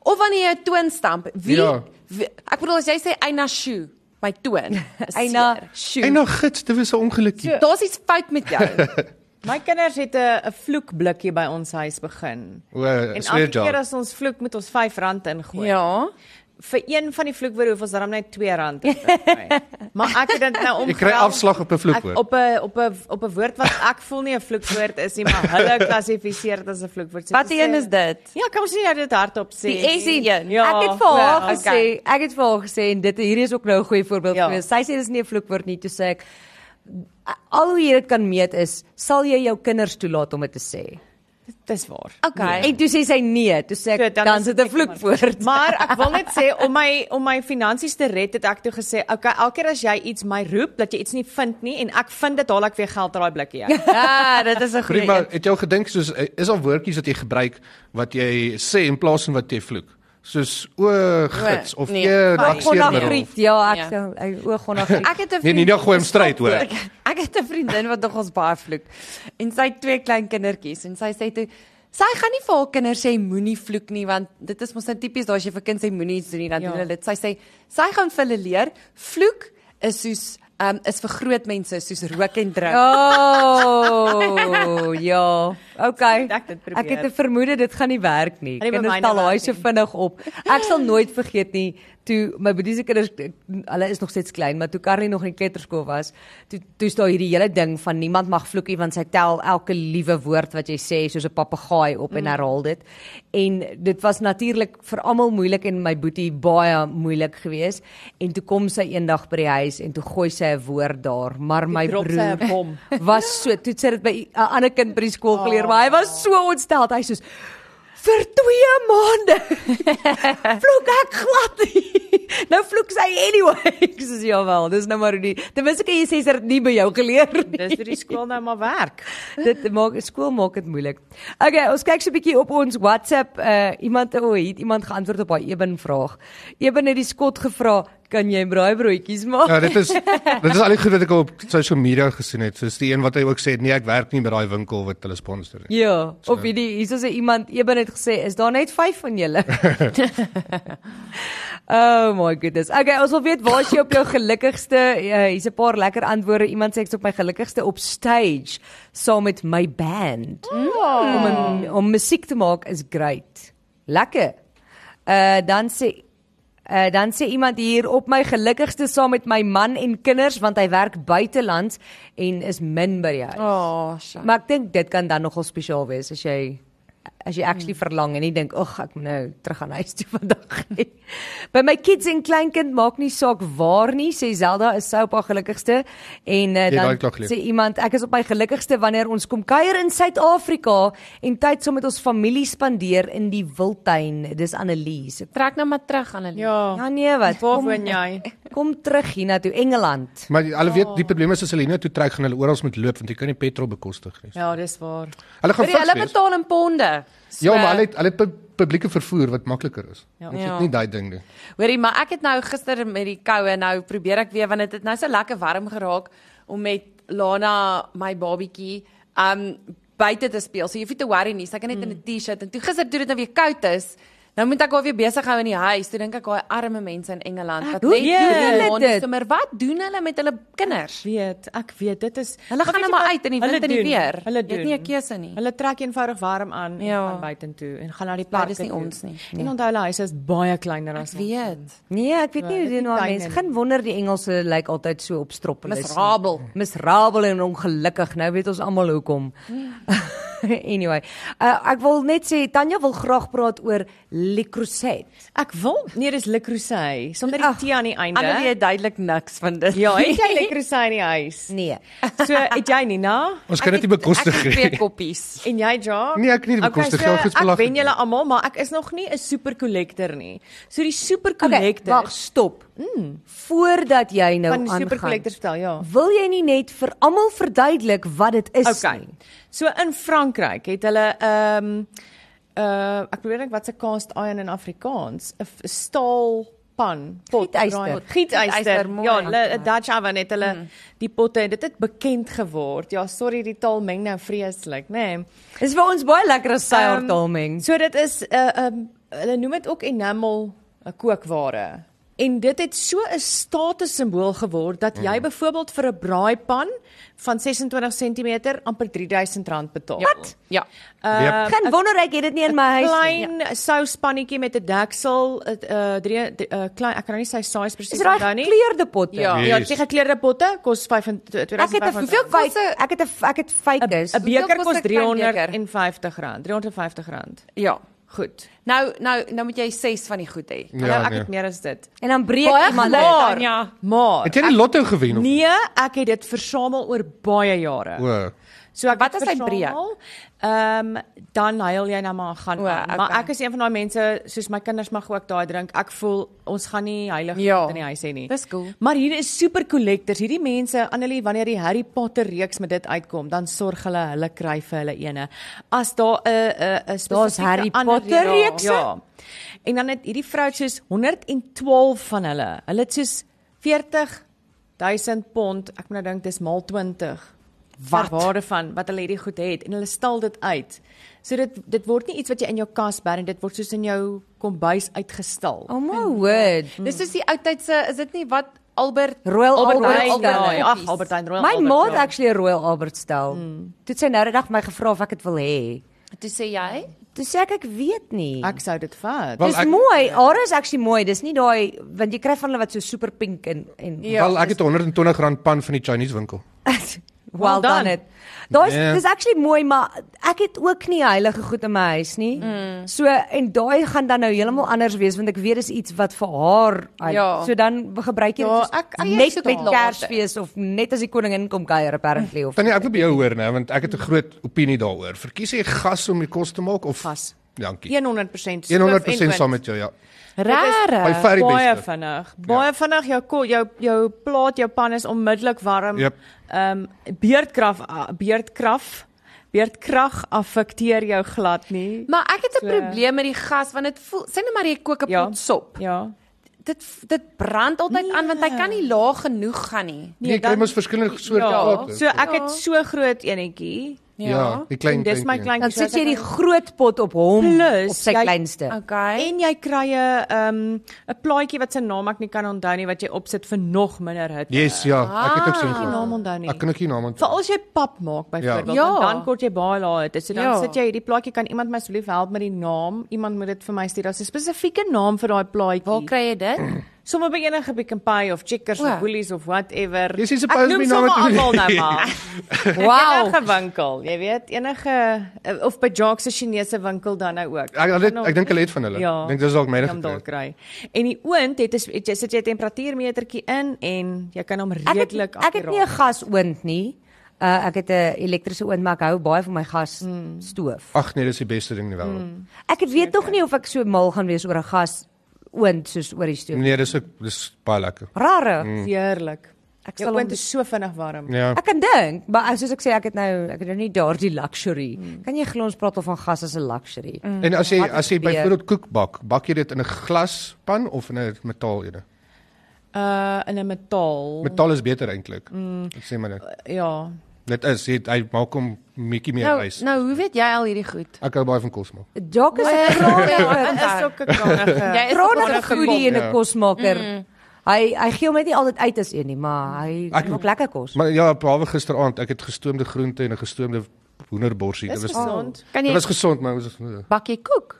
Of wanneer jy 'n toon stamp. Wie,
Ja.
wie ek bedoel as jy sê Eina shoe, my toon.
Eina
En
shoe.
nou gits, dit was 'n ongelukkie.
Daar's iets fout met jou.
My kinders het 'n 'n vloekblikkie by ons huis begin.
O, eh,
En elke keer
sweerjaar.
as ons vloek moet ons R5 ingooi.
ja.
Vir een van die vloekwoorde hoef ons dan net R2 in te kry. maar ek het dit nou om
Ek kry afslag op 'n
Ek
vloekwoord.
op 'n op 'n op 'n woord wat ek voel nie 'n vloekwoord is nie, maar hulle klassifiseer dit as 'n vloekwoord. So
Wat
dis, eh,
een is dit?
Ja, kom ons sien nou dit hardop sê.
Die essie een.
Ja.
ek het vir haar
wel,
gesê, ek het vir haar gesê en dit hierdie is ook nou 'n goeie voorbeeld
Ja.
ja. gewees. Sy sê dis nie 'n vloekwoord nie, toe sê ek al hoe jy dit kan meet is, sal jy jou kinders toelaat om dit te sê.
Dis waar.
Okay.
En toe sê sy nee, toe sê
So,
ek
dan
dan, dan
is
sit
dit
'n vloekwoord.
Maar ek wil net sê om my om my finansies te red het ek toe gesê, okay, elke keer as jy iets my roep dat jy iets nie vind nie en ek vind dit haal ek weer geld uit daai blikkie uit.
Ja, dit is 'n goeie.
Prima, het jy al gedink soos eh, is daar woordjies wat jy gebruik wat jy sê in plaas van wat jy vloek? Soos o, gits of
nee,
nee, e,
maar
lakseermiddel.
Gonnagriet, ja,
Ja.
ek sou oog gonnagriet.
Ek het 'n
Nee,
vriend-
Nina gooi hom stryd, hoor.
Ek, ek het 'n vriendin wat nog ons baie vloek. En sy het twee klein kindertjies en sy sê toe sy gaan nie vir haar kinders sê moenie vloek nie want dit is mos nou tipies daar as jy vir kind sê moenie iets doen nie dan
Ja.
doen hulle dit. Sy sê sy gaan vir hulle leer vloek is soos um, is vir groot mense soos rook en drink.
Oh, ja. Okay.
Ek het dit probeer.
Ek het 'n vermoede dit gaan nie werk nie.
Gaan nie by
Kinders
myne
tel daai
werk
so
nie.
vinnig op. Ek sal nooit vergeet nie toe my boetie kinders hulle is nog steeds klein, maar toe Carly nog in die kleuterskool was, toe toe staan hierdie hele ding van niemand mag vloek nie want sy tel elke liewe woord wat jy sê soos 'n papegaai op
Mm.
en herhaal dit. En dit was natuurlik vir almal moeilik en my boetie baie moeilik geweest. En toe kom sy eendag by die huis en toe gooi sy 'n woord daar, maar my
drop sy
broer
'n bom.
was so toe het sy dit by 'n ander kind by die skool geleer, maar hy
Ah.
was so ontstel. Hy soos vir 2 maande vloek ek glad nie. Nou vloek sy anyway. Ek sê ja wel, dis nou maar hoe die ten minste kan jy sê sy het dit nie by jou geleer
Dis
nie.
vir die skool nou maar werk.
Dit maak skool maak dit moeilik. Okay, ons kyk so 'n bietjie op ons WhatsApp. Uh iemand o, oh, het iemand geantwoord op haar Eben vraag. Eben het die skot gevra, kan jy braaibroodjies maak?
Ja, dit is dit is al die goed wat ek al op social media gesien het. Soos die een wat hy ook sê, nee, ek werk nie by daai winkel wat hulle sponsor nie.
Ja, of hierdie hierso sê iemand Eben het gesê is daar net 5 van julle. oh my goodness. Okay, ons wil weet waar is jy op jou gelukkigste? Uh, Hier's 'n paar lekker antwoorde. Iemand sê ek's op my gelukkigste op stage saam met my band. Om in, om musiek te maak is great. Lekker. Uh dan sê Uh, dan sê iemand hier op my gelukkigste saam met my man en kinders want hy werk buitelands en is min by die huis.
Oh, sja.
Maar ek dink dit kan dan nogal spesiaal wees as jy as jy actually verlang en nie dink, "Ag, ek moet nou terug aan huis toe vandag." nie." By my kids en kleinkind maak nie saak waar nie, sê Zelda is sou op haar gelukkigste en uh,
Jy
dan
daai klag geleef.
sê iemand, ek is op my gelukkigste wanneer ons kom kuier in Suid-Afrika en tyd saam met ons familie spandeer in die wildtuin. Dis Annelies. Ek-
Trek nou maar terug aan hulle.
Ja nee, wat?
Waar
Kom,
woon jy?
kom terug hiernatoe Engeland.
Maar die- hulle weet die
Ja.
probleem is as hulle hiernatoe trek gaan hulle oral moet loop want jy kan nie petrol bekostig nie.
Ja, dis waar.
Hulle gaan
Vir
vas
hulle
wees.
betaal in ponde. So-
Ja, maar hulle het, hulle het pu- publieke vervoer wat makliker is. Ja. Ons
Ja.
het nie daai ding nie.
Hoorie, maar ek het nou gister met die koue nou probeer ek weer want dit het nou so lekker warm geraak om met Lana my babietjie Mm. um buite te speel. So jy hoef nie te worry nie. Sy kan net in 'n T-shirt en toe gister toe dit nou weer koud is, Nou moet ek haar weer besig hou in die huis. Toe dink ek daai arme mense in Engeland wat
Hoe
net
doen
hulle dit?
Maar wat doen hulle met hulle kinders?
weet, ek weet dit is
Hulle gaan
weet
nou
jy
maar
wat?
uit in die
Hulle
wind en die
doen,
weer.
Hulle
Jy
doen
het nie 'n keuse nie.
Hulle trek eenvoudig warm aan ja.
Ja.
en gaan buitentoe en gaan na die
Maar
park.
dis nie ons nie. Nee.
En onthou hulle huise is baie kleiner as ons.
Ja. weet.
Nee, ek weet nie hoe
Nou, dit
doen
is
maar
klein
mense.
en-
Geen wonder die Engelse lyk altyd so opstroppelis. nie.
Miserabel.
Miserabel en ongelukkig. Nou weet ons almal hoekom.
Hmm.
anyway, uh, ek wil net sê Tanya wil graag praat oor Le Creuset.
Ek wil, nee, dis Le Creuset, sommer die
Ag,
T aan die einde.
Ander weet duidelik niks van dit.
Ja, het jy Le Creuset in die huis?
Nee.
So, het jy Nina
Ons kan dit nie bekostig
Ek het twee
nie.
koppies.
en jy Ja?
Nee, ek het nie die bekostig geld goeds
Ek
belag.
wen julle almal, maar ek is nog nie 'n super collector nie. So die super
Okay,
collector
wag, stop. Mm. Voordat jy nou
Hmm. van die super
aangaan.
collectors vertel, ja.
Wil jy nie net vir almal verduidelik wat dit is
Okay.
nie?
So in Frankryk het hulle ehm uh ek probeer dink wat se cast iron in Afrikaans, 'n f- staal pan, pot,
Gietijster.
draai- Gietijster.
Gietijster, mooi.
Ja, hulle 'n Dutch oven het hulle
Mm.
die potte en dit het bekend geword. Ja, sorry, die taal meng nou vreeslik, nê. Nee.
Dis vir ons baie lekker as seiltalming.
Ehm, So dit is 'n uh, um, hulle noem dit ook enamel uh, kookware. En dit het so 'n status simbool geword
Mm.
dat jy byvoorbeeld vir 'n braaipan van 26 cm amper R3000 betaal. Wat?
Ja.
Yep.
Geen wonder ek het dit nie in my huis nie.
Ehm, Klein ja. souspannetjie met 'n deksel, 'n uh, drie uh, klein ek kan nou nie sy size
Dis
presies
reg
onthou nie.
gekleurde potte.
Ja.
Ja,
Yes.
dit is gekleurde potte kos 25
Ek het 'n hoeveel kos
R25.
kos 'n-
ek het 'n ek het fikus.
'n beker
kos
kos
een klein beker?
R350, R350.
Ja.
Goed.
Nou nou nou moet jy 6 van die goed hê.
Ja, nou
Ja,
ek het
nee.
meer as dit.
En dan breek
Baie
iemand dit.
maar-
Tanya, maar
Het jy die lotto gewen of? nie?
Nee, ek het dit versamel oor baie jare.
O.
So ek
Wat
het
as hy
versamel, Ehm dan huil jy nou maar gaan
O,
aan. Maar
okay.
ek is een van daai mense soos my kinders mag ook daai drink. Ek voel ons gaan nie heilig
Ja,
in die huis hê nie.
dis cool.
Maar hier is super collectors. Hierdie mense, Annelie, wanneer die Harry Potter reeks met dit uitkom, dan sorg hulle hulle kry vir hulle ene. As daar 'n 'n 'n spesifieke
Harry
ander-
Potter
ja,
reekse?
Ja. En dan het hierdie vrou het soos 112 van hulle. Hulle het soos 40 1000 pond, ek moet nou dink dis maal 20 wat waarde van wat hulle hierdie goed het en hulle stal dit uit. So dit dit word nie iets wat jy in jou kas bær en dit word soos in jou kombuis uitgestal.
Oh my word.
Dis soos die ou tyd se is dit nie wat Albert
Royal
Albert
Albert
Heijn,
stel.
ja, ja.
nee, ag Albertine Royal.
My
Albert Hmm.
ma het
Heijn.
actually 'n Royal Albert stel. Toe het sy nou die dag my gevra of ek dit wil hê.
Toe sê jy,
Toe sê ek ek weet nie.
ek sou dit vat.
Wel,
Dis
ek-
mooi. Haar is actually mooi. Dis nie daai want jy kry van hulle wat so super pink en en
Ja,
Wel, ek het 'n R120 pan van die Chinese winkel.
well
Well
done
done.
it. Daai
Nee.
yeah. dis actually mooi, maar ek het ook nie heilige goed in my huis nie. Mm. So en daai gaan dan nou heeltemal anders wees want ek weet dis iets wat vir haar hy-
Ja.
so dan gebruik jy
Ja,
dit soos
ek- ek
net
sit
met
later.
Kersfees of net as die koningin kom kuier apparently of
Tannie, ek wil by jou hoor nè, want ek het 'n groot opinie daaroor. Verkies jy gas om die kos te maak of
Gas.
Dankie.
100% swif
100%
en
saam
wind.
met jou,
Nee,
ja. By
"Rare."
far die
baie
beste. Ja.
vinnig. Baie vinnig jou ko- jou jou plaat, jou pan is onmiddellik warm.
Jep.
Ehm beerdkrag beerdkrag beerdkrag affekteer jou glad nie.
Maar ek het 'n
So.
probleem met die gas want dit voel sê net maar jy kook 'n
Ja.
pot sop.
Nee,
Ja.
Dit dit brand altyd aan want hy kan nie laag genoeg gaan nie.
Nee, jy kry
dan-
mos verskillende soorte
Ja,
plate.
so ek het so groot enetjie.
ja, die klein
En dis my klein
dan sit jy die groot pot op hom
Plus,
op sy
jy-
kleinste.
Okay.
Ja. en jy kry 'n ehm 'n plaadjie wat se naam ek nie kan onthou nie wat jy opsit vir nog minder hitte.
Yes, ja, ek het ook sien
Ek kan nie Ah, naam
gehad.
onthou nie.
Ek kan ook nie naam onthou.
Veral as jy pap maak byvoorbeeld,
Ja.
want
Ja.
dan kort jy baie lae hitte. So dan
Ja.
sit jy hierdie plaadjie kan iemand my asseblief help met die naam? Iemand moet dit vir my stuur. Daar's 'n spesifieke naam vir daai
Waar
plaadjie.
kry jy dit?
Sommige by enige Pick n Pay of Checkers
O.
of Woolies of whatever.
Jy sê
Ek
suppose
noem
my naam
sommer
het-
almal nou maar.
Wow.
Enige winkel, jy weet, enige eh, of by Jacques se Chinese winkel dan nou ook.
Ek ek, ek dink hulle het van hulle.
Ja.
Ek dink dis dalk myne
Jy kan dalk
gekry.
kry. En die oond het 'n sp- jy sit jy 'n temperatuurmetertjie in en jy kan hom
Ek het,
redelik
ek het nie 'n gasoond nie. Uh, ek het 'n elektriese oond maar ek hou baie van my gas mm. stoof.
Ag nee, dis die beste ding in die wêreld.
Ek het weet nog nie of ek so mal gaan wees oor 'n gas oond soos oor die stoof.
Nee, dis ook dis baie lekker.
Rare. Mm.
heerlik. Ek
sal
sal
hom
oond is so vinnig warm.
Hm. Ja.
Ek kan dink, maar soos ek sê, ek het nou ek het nou nie daardie luxury. Mm. Kan jy glo ons praat al van gas as 'n luxury? Mm.
En as jy
Wat
as jy
gebeur?
byvoorbeeld koek bak, bak jy dit in 'n glaspan of in 'n metaal ene?
Uh in 'n metaal.
Metaal is beter eintlik. Ek sê maar net.
Ja.
Dit is hy, hy maak hom bietjie meer
Nou,
wys.
nou hoe weet jy al hierdie goed?
Ek hou baie van kos maak.
Jock is 'n kranige,
Is ook 'n krangige.
Jy ja, is
kranige
ook Mm. 'n
foodie en 'n
Ja.
kosmaker. Hy hy gee hom net nie altyd uit as een nie,
Mm.
maar hy
Ek-
maak lekker kos.
Maar ja, behalwe gisteraand, ek het gestoomde groente en 'n gestoomde hoenderborsie. Dit
Dis
was
gesond.
Kan
dit
jy
was gesond, maar dit was
bak jy koek?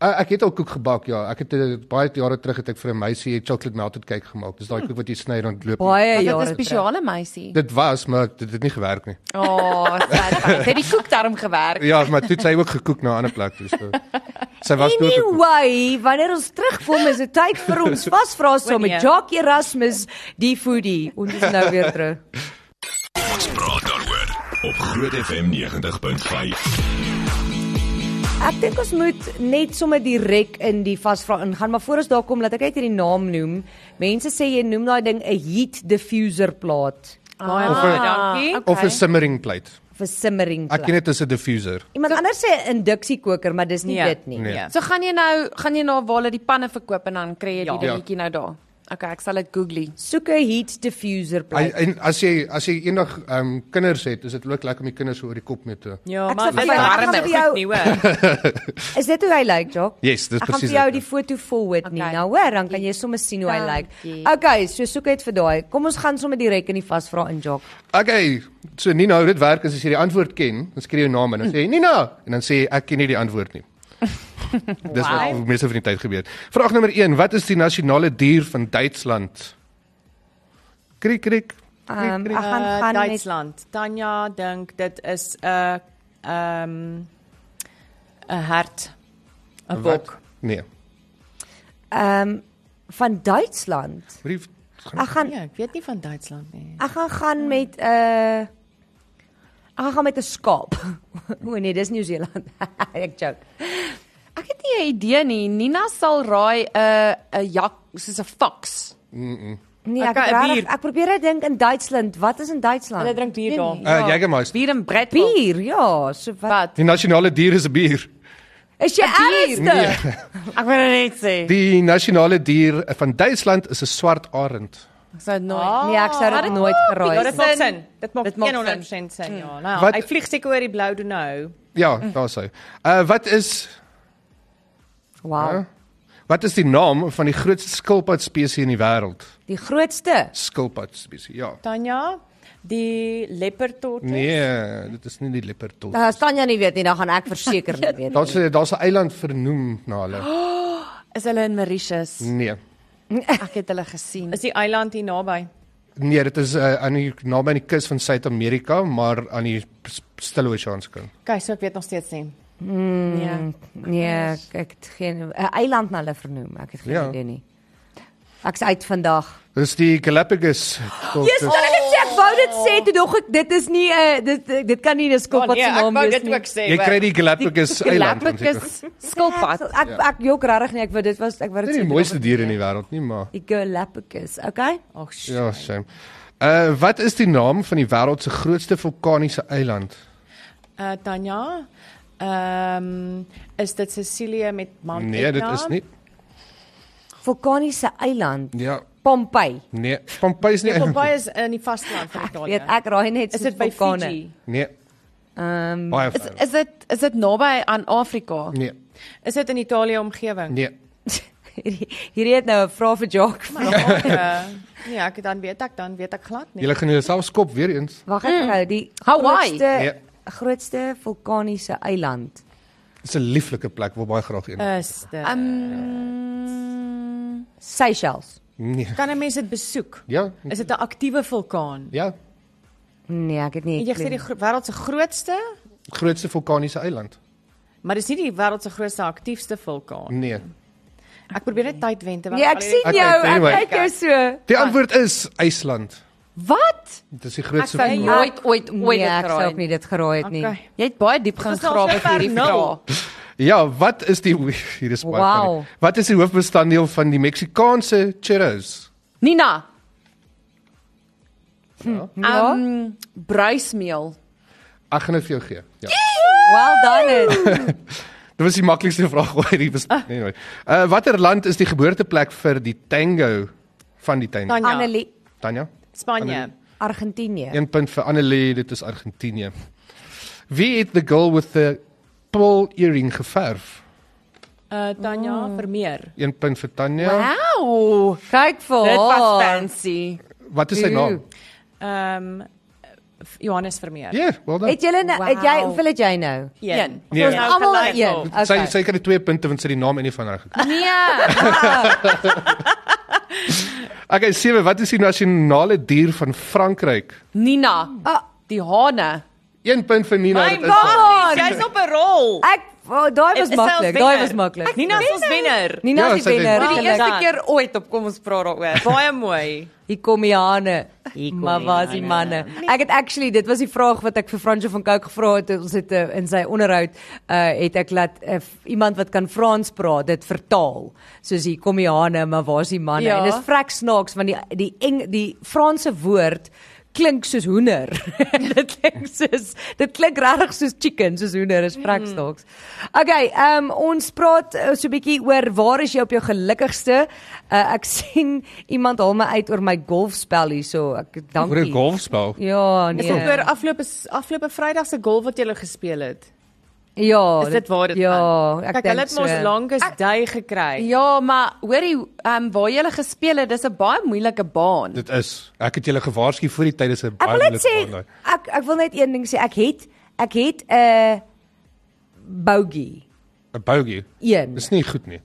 Uh, ek het al koek gebak, ja. Ek het uh, baie jare terug het ek vir 'n meisie chocolate melted cake gemaak. Dis daai koek wat jy sny en dan loop. jy.
Baie
Ja,
Dit
jare.
is 'n spesiale meisie.
Dit was, maar dit het nie gewerk nie.
O, oh, sad. Sy het die koek daarom gewerk.
Ja, maar toe het sy ook gekoek na 'n ander plek, dus. Uh, sy was
nee,
dood. gekoek.
Anyway, wanneer ons terugkom is dit tyd vir ons vasvra saam met
nee.
Jock Erasmus, die foodie. Ons is nou weer terug.
Praat daaroor op Groot FM 90.5.
Ek dink ons moet net sommer direk in die vasvra ingaan, maar voor ons daar kom, laat ek net hierdie naam noem. Mense sê jy noem daai ding 'n heat diffuser plaat
Baie
Ah,
baie dankie.
ok.
Of 'n simmering plate.
of 'n simmering
Ek ken
plaat.
dit as 'n diffuser.
Iemand anders sê 'n induksiekoker, maar dis nie
Nee.
dit nie.
Nee.
Ja.
So gaan jy nou gaan jy na nou waar hulle die panne verkoop en dan kry jy die
Ja.
ja. dingetjie nou daar. Okay, ek sal dit googly.
Soek 'n heat diffuser
Hy-
plaat.
En as jy as jy eendag ehm um, kinders het, is dit ook lekker om die kinders so oor die kop mee te.
Ja,
Ek
maar
sal
dit
vir jou-
warm
ek sal
is
vir jou-
goed nie hoor.
Is dit hoe hy lyk, like, Jock?
Yes, dis
Ek gaan
presies
vir jou
dit,
die foto forward nie.
Okay.
Nou hoor, dan kan jy sommer sien hoe hy lyk.
Dankie.
Like. Okay, so soek uit vir daai. Kom ons gaan sommer direk in die vasvra in, Jock.
Okay, so Nina, hoe dit werk is as jy die antwoord ken, dan skryf jy jou naam in en dan sê jy Nina en dan sê jy ek ken nie die antwoord nie. Dis wat
uh,
wow. meeste van die tyd gebeur. Vraag nommer 1, wat is die nasionale dier van Duitsland? Kriek kriek.
Ehm um, ek gaan
Uh,
gaan net
Duitsland. Tanya dink dit is 'n ehm 'n hert, 'n bok.
Nee.
ehm um, van Duitsland.
Brief.
Ek gaan
Ja, ek weet nie van Duitsland nie.
Ek gaan gaan met 'n uh, ek gaan gaan met 'n skaap. o nee, dis Nieu-Seeland. ek joke.
Ek het nie 'n idee nie. Nina sal raai 'n uh, 'n jak soos 'n fox.
Nee, ek
Ek kan 'n
rarig,
bier.
ek probeer net dink in Duitsland. Wat is in Duitsland?
Hulle drink bier daar.
Uh, Jägermeister.
Bier en bread.
bier. Ja, so wat?
Wat?
Die nasionale dier is 'n bier.
Is jy
Nee.
ernstig?
Ek wil dit net sê.
Die nasionale dier van Duitsland is 'n swart arend.
Ek sou dit nooit.
Ah,
Nee, ek sou dit nooit
Ja,
geraai
dit
nie.
maak
Sin.
sin. Dit maak
Dit maak
100% sin. Ja. Nou,
Wat-
hy vlieg seker oor die blou donou.
Ja, daar's hy. Uh wat is
Wow.
wat is die naam van die grootste skilpad spesies in die wêreld?
Die grootste.
Skilpad spesies. Ja.
Tanya, die lepertot.
Nee, dit is nie die lepertol.
Daar staan jy Eh, nie weet nie, dan gaan ek verseker nie weet nie.
Daar's 'n- daar's 'n eiland vernoem na hulle.
Is hulle in Mauritius?
Nee.
Ek het hulle gesien.
Is die eiland hier naby?
Nee, dit is uh, aan die naby aan die kus van Suid-Amerika, maar aan die s- Stille Oseaanskus.
Okay, so ek weet nog steeds nie.
Nee.
Nee, ek, ek het geen 'n eiland na hulle vernoem. Ek het geen
Ja.
ja. idee nie. Ek's uit vandag.
Dis die Galapagos.
Yes, oh. ek het sê ek wou dit sê toe dog ek dit is nie 'n uh, dit dit kan nie 'n skop
Oh, nee,
wat se naam wees nie.
sê.
Jy kry die Galapagos eiland. want jy-
Galapagos skilpad.
Ek ek, ek jok regtig nie, ek wou dit was ek wou dit sê.
Ja. Dit is die
toe
mooiste
dog
dier in die wêreld, nie maar.
ek- Die Galapagos, okay?
Ag, sj-
Ja, shame. Uh wat is die naam van die wêreld se grootste vulkaniese eiland?
eh Tanya, ehm is dit Sicilië met Mount
Nee, dit
Etna?
is nie.
Vulkaniese eiland,
Ja,
Pompeii.
nee. Pompeii is nie
Nee,
eiland.
Pompeii is in die vasteland van Italië.
Weet ek raai net
Oh, ja. is
soos
dit by
vulkane.
Fiji?
Nee,
Ehm um,
baie
Is
ver.
is dit is dit naby aan Afrika?
Nee,
Is dit in Italië omgewing?
nee.
hierdie, hierdie het nou 'n vraag vir Jock.
Ja. Nee, ek dan weet ek dan weet ek glad nie.
Julle gaan jouself skop weer eens.
Wag ek gou, die
Hmm.
Hawaii.
grootste
Ja.
grootste vulkaniese eiland.
Dit is 'n lieflike plek, wil baie graag een.
Is dit? Um,
Um,
Seychelles.
Nee.
kan 'n mens dit besoek?
Ja.
Is dit 'n aktiewe vulkaan?
Ja,
Nee, ek het nie.
Jy sê die gro- wêreld se grootste,
grootste vulkaniese eiland.
maar dis nie die wêreld se grootste aktiefste vulkaan.
Nee.
Ek probeer net tyd wen terwyl
Nee, ek sien
Okay,
jou. Ek
anyway.
kyk jou so.
Die antwoord is IJsland.
wat?
Dit is die grootste
Ek sê
vulkaan.
ja.
Nooit ooit
Nee,
ooit
ek
dit
sou
geraai
ook
nie.
nie dit geraai het nie.
Okay.
Jy het baie diep gaan
Dis nou
grawe
so
vir hierdie
ver nul.
vraag.
Ja, wat is die hier is baie.
Wow.
funny. Wat is die hoofbestanddeel van die Meksikaanse churros?
Nina,
Ja.
um, bruismeel.
Ek gaan dit vir jou gee. Ja.
Well done.
Dit was die maklikste vraag ooit hier was.
Ah.
Nee, nee. Uh watter land is die geboorteplek vir die tango van die tango?
Tanya.
Annelie.
Tanya?
Spanje.
Annelie.
Argentinië.
Een punt vir Annelie, dit is Argentinië. Wie het the girl with the pearl earring geverf?
Uh Tanya oh. Vermeer.
Een punt vir Tanya.
Wow!
Kyk vir
Dit was
haar.
fancy.
Wat is sy naam?
Ehm um, Johannes Vermeer.
Ja, yeah, wel dan.
Het julle nou, het jy
Wow.
hoeveel het jy nou?
Een.
Nee.
Ons nou
Almal
gelyk
een.
op.
Okay.
Sy sy kry 2 punte want sy het die naam en nie van haar gekry.
Nee.
Okay, sewe, wat is die nasionale dier van Frankryk?
Nina. Die hane.
1 punt vir Nina.
My
Ja, dit is haar.
God,
waar.
jy's op 'n rol.
Ek oh, daai was
Dit is selfs
maklik. Daai
wenner.
was maklik.
Nina is ons wenner.
Nina
Ja,
is
sy
die
het
wenner.
wen.
Vir die
Wow.
eerste
Dan.
keer ooit op kom ons praat daaroor.
Baie mooi.
Hier kom die hane.
Hier kom
Maar
die
was die manne.
hane.
Ek het actually dit was die vraag wat ek vir Franco van Cooke gevra het. Ons het uh, in sy onderhoud uh het ek laat uh, iemand wat kan Frans praat dit vertaal. Soos hier kom die hane, maar waar's die manne?
Ja.
En dit is vrek snaaks want die die eng, die Franse woord klink soos hoender. dit klink soos dit klink regtig soos chicken, soos hoender is vrek snaaks.
Mhm.
Okay, ehm um, ons praat uh, so 'n bietjie oor waar is jy op jou gelukkigste? Uh, ek sien iemand haal my uit oor my golfspel hierso. Ek dankie.
Oor 'n golfspel.
Ja,
Dis
nee.
ook oor afgelope afgelope Vrydag se golf wat jy gespeel het.
Ja,
Is dit waar dit
Ja,
gaan?
ek
Kyk, hulle
dink
het mos
so.
langes day gekry.
Ja, maar hoorie, ehm um, waar jy gele gespeel het, dis 'n baie moeilike baan.
Dit is. Ek het julle gewaarsku voor die tyd dis 'n
Ek
baie
wil net sê
baan daai.
ek ek wil net een ding sê. Ek het ek het 'n uh, bogey
'n Bogey.
een.
Dis nie goed nie.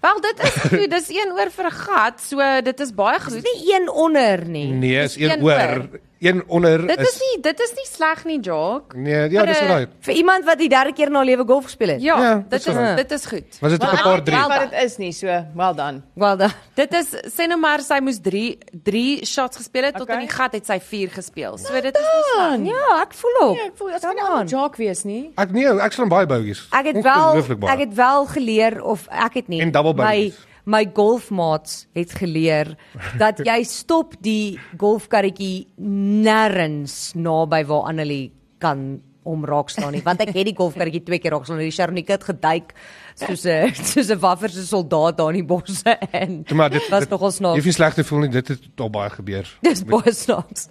Wel, dit is goed, dis een oor vir 'n gat, so dit is baie goed.
Nie een onder nie.
Nee, is
een
een oor,
oor.
een onder
Dit
is,
is nie dit is nie sleg nie, Jacques.
Nee, ja,
vir
dis
een-
reg.
Vir iemand wat die derde keer in haar lewe golf gespeel het.
Ja,
Ja, dis
dit is
reg.
dit is goed.
Was dit op
Maar
'n paar drie?
Ek weet wat dit is nie, so well done.
Wel dan.
Dit is sê nou maar sy moes 3 3 shots gespeel het tot
Okay.
in die gat het sy 4 gespeel. So dit is nie sleg. nie.
Ja, ek voel op.
Ek voel as
Come
kan
on.
nou joke wees nie.
Ek nee, ek slaan baie bogies.
Ek het wel ek het wel geleer of ek het nie
En double
my
bogeys.
my golfmaats het geleer dat jy stop die golfkarretjie nêrens naby waar Annelie kan om raak slaan nie want ek het die golfkarretjie twee keer raak slaan die Sharnika het geduik soos 'n soos 'n waffer se soldaat daar in die bosse en
maar dit
was
dit-
nogal
Jy
snaaks
hoef nie sleg te voel nie, dit het al baie gebeur.
dis baie snaaks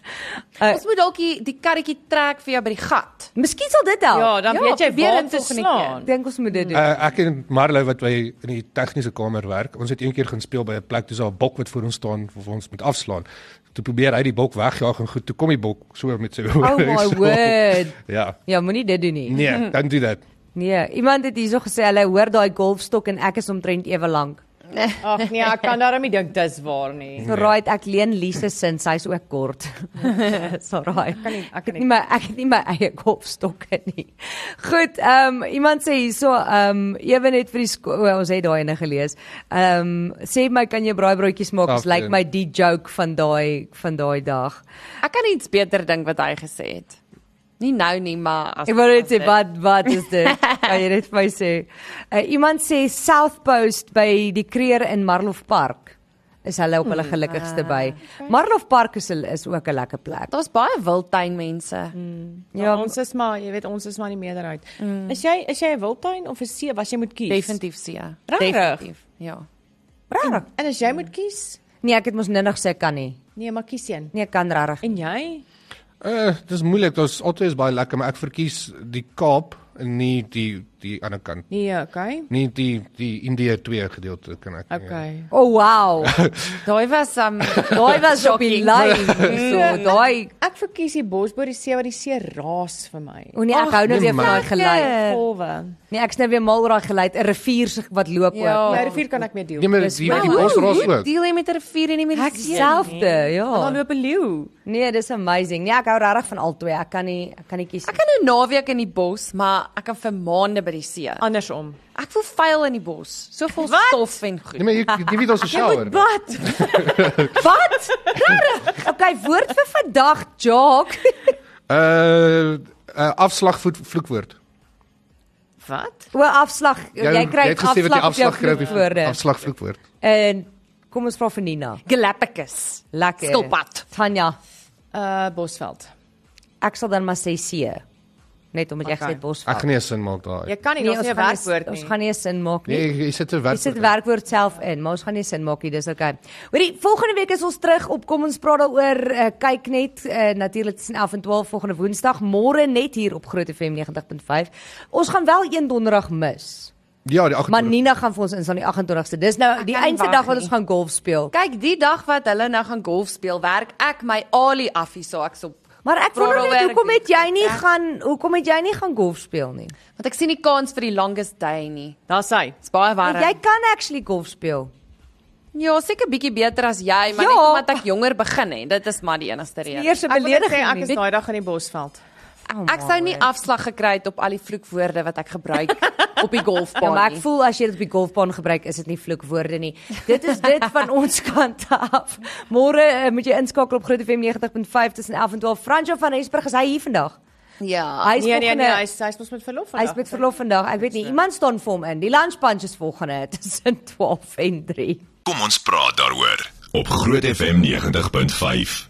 uh,
Ons moet dalk die, die karretjie trek vir jou by die gat.
miskien sal dit help
Ja, dan
Ja,
weet jy
probeer
waar
dit
om te
volgende
slaan.
ek dink ons moet dit doen
Uh, ek en Marlo wat by in die tegniese kamer werk, ons het eendag gaan speel by 'n plek toe daar 'n bok wat voor ons staan wat ons moet afslaan. Toe probeer hy die bok wegjaag en goed, toe kom die bok so met sy
oh
oor.
my word
Ja.
ja moenie dit doen nie
Nee, dan doen dit.
Nee, iemand het hierso gesê hulle hoor daai golfstok en ek is omtrent ewe lank.
Ag nee, ek kan daarom nie dink dis waar nie.
So right, ek leen Lise sin, sy's ook kort. so right.
Kan nie, ek
Ek het
kan
nie
nie.
my ek het nie my eie golfstokke nie. Goed, ehm um, iemand sê hierso ehm um, ewen net vir die sko- o, ons het daai ene gelees. Ehm um, sê my kan jy braaibroodjies maak? Dis lyk like my die joke van daai van daai dag.
Ek kan iets beter dink wat hy gesê het. Nie nou nie, maar as
Ek wou net sê
as dit-
wat wat is dit? Kan jy dit vir my sê? Uh, iemand sê South Post by die Kreer in Marlof Park is hulle op hulle
Hmm.
gelukkigste
Ah,
by. Marlof Park is hulle- is ook 'n lekker plek.
Daar's baie wildtuinmense.
Ja,
Ja,
ons is maar, jy weet, ons is maar die meerderheid. Mm. Is jy is jy 'n wildtuin of 'n see wat jy moet kies?
Definitief see.
Rarig.
Definitief. Ja.
rarig.
En as jy moet kies?
Nee, ek het mos ninnig sê ek kan nie.
Nee, maar kies een.
Nee, ek kan rarig. nie.
En jy?
Uh, dis moeilik. Daar's altyd is baie lekker, maar ek verkies die Kaap en nie die die ander kant.
Nee, okay.
Nie die die Indië 2 gedeelte kan ek. nie.
Okay.
Oh wow.
Daai was um
Daai was op die lyn.
Nee.
So daai
Ek verkies die Bosbou die see want die see raas vir my.
O nee, ek hou nou weer van daai
nee.
geluid.
Golwe.
Nee, ek's nou weer mal oor daai geluid, 'n rivier se- wat loop
Ja.
ook.
Ja, die vier kan ek mee deel.
Nee,
Nee.
maar die
Dis
die,
wel-
die bosras ook.
Deel jy met 'n rivier en nie met
Ek
'n see?
selfde, ja.
Dan loop 'n leeu.
Nee, dis amazing. Nee, ek hou regtig van al twee. Ek kan nie ek kan nie kies
Ek
nie.
kan 'n naweek in die bos, maar ek kan vir maande by die see.
Andersom.
Ek voel vuil in die bos. So vol
Wat?
stof en
Nee,
goed.
maar jy jy weet ons se shower.
Wat?
Wat? Regtig? Okay, woord vir vandag, Jacques.
Uh, uh afslag vloek, vloekwoord.
Wat?
O, afslag. Jy, jy kry
Ja, jy het gesê wat
afslag
die
op jou
afslag kry op die
vloekwoorde.
afslag vloekwoord.
En kom ons vra vir Nina.
Galapagos.
Lekker.
Skilpad.
Tanya,
Uh Bosveld.
ek sal dan maar sê see. net omdat jy okay.
Okay.
gesê bos. Nee,
Ek gaan nie 'n sin maak daai.
Jy kan
Nee.
nie, daar's nie 'n werkwoord
Ons
nie.
gaan nie 'n sin maak nie.
Nee, jy sit te werk.
Dit sit werkwoord self in, maar ons gaan nie sin maak nie, dis okay. Hoorie, volgende week is ons terug op kom ons praat daaroor. Uh, kyk net uh, natuurlik tussen 11 en 12 volgende Woensdag, môre net hier op Groot FM 90.5. Ons gaan wel een donderdag mis.
Ja, die 8
Maar Nina gaan vir ons instaan die 28ste. Dis nou die
kan nie
einde
wag
dag wat
nie.
ons gaan golf speel.
Kyk, die dag wat hulle nou gaan golf speel, werk ek my Ali af hier so ek's op.
Maar ek
Praat
wonder net
daaroor,
hoekom
ek
het jy nie
ek-
gaan hoekom het jy nie gaan golf speel nie?
Want ek sien nie kans vir die longest day nie.
Daar's hy.
Dit's baie warm.
Want
ehm,
jy kan actually golf speel.
ja, seker bietjie beter as jy, maar
Ja.
net omdat ek jonger begin het. Dit is maar die enigste rede.
Eers 'n
Ja. Ek Oh, wil net sê
belediging.
ek
nie.
is daai dag in die Bosveld.
Ek sou nie afslag gekry het op al die vloekwoorde wat ek gebruik op die
Ja, maar
golfbaan
ek
nie.
voel as jy dit op die golfbaan gebruik, is dit nie vloekwoorde nie. Dit is dit van ons kant af. Môre uh, moet jy inskakel op Groot FM 90.5 tussen 11 en 12. Franco van Rensburg is hy hier vandag.
Ja.
Hy is
Nee nee nee,
volgende-
hy's hy's mos met verlof vandag.
Hy's met verlof vandag. Ek weet nie, iemand staan vir hom in. Die lunch punch is volgende tussen 12 en 3.
Kom ons praat daaroor op Groot FM 90.5.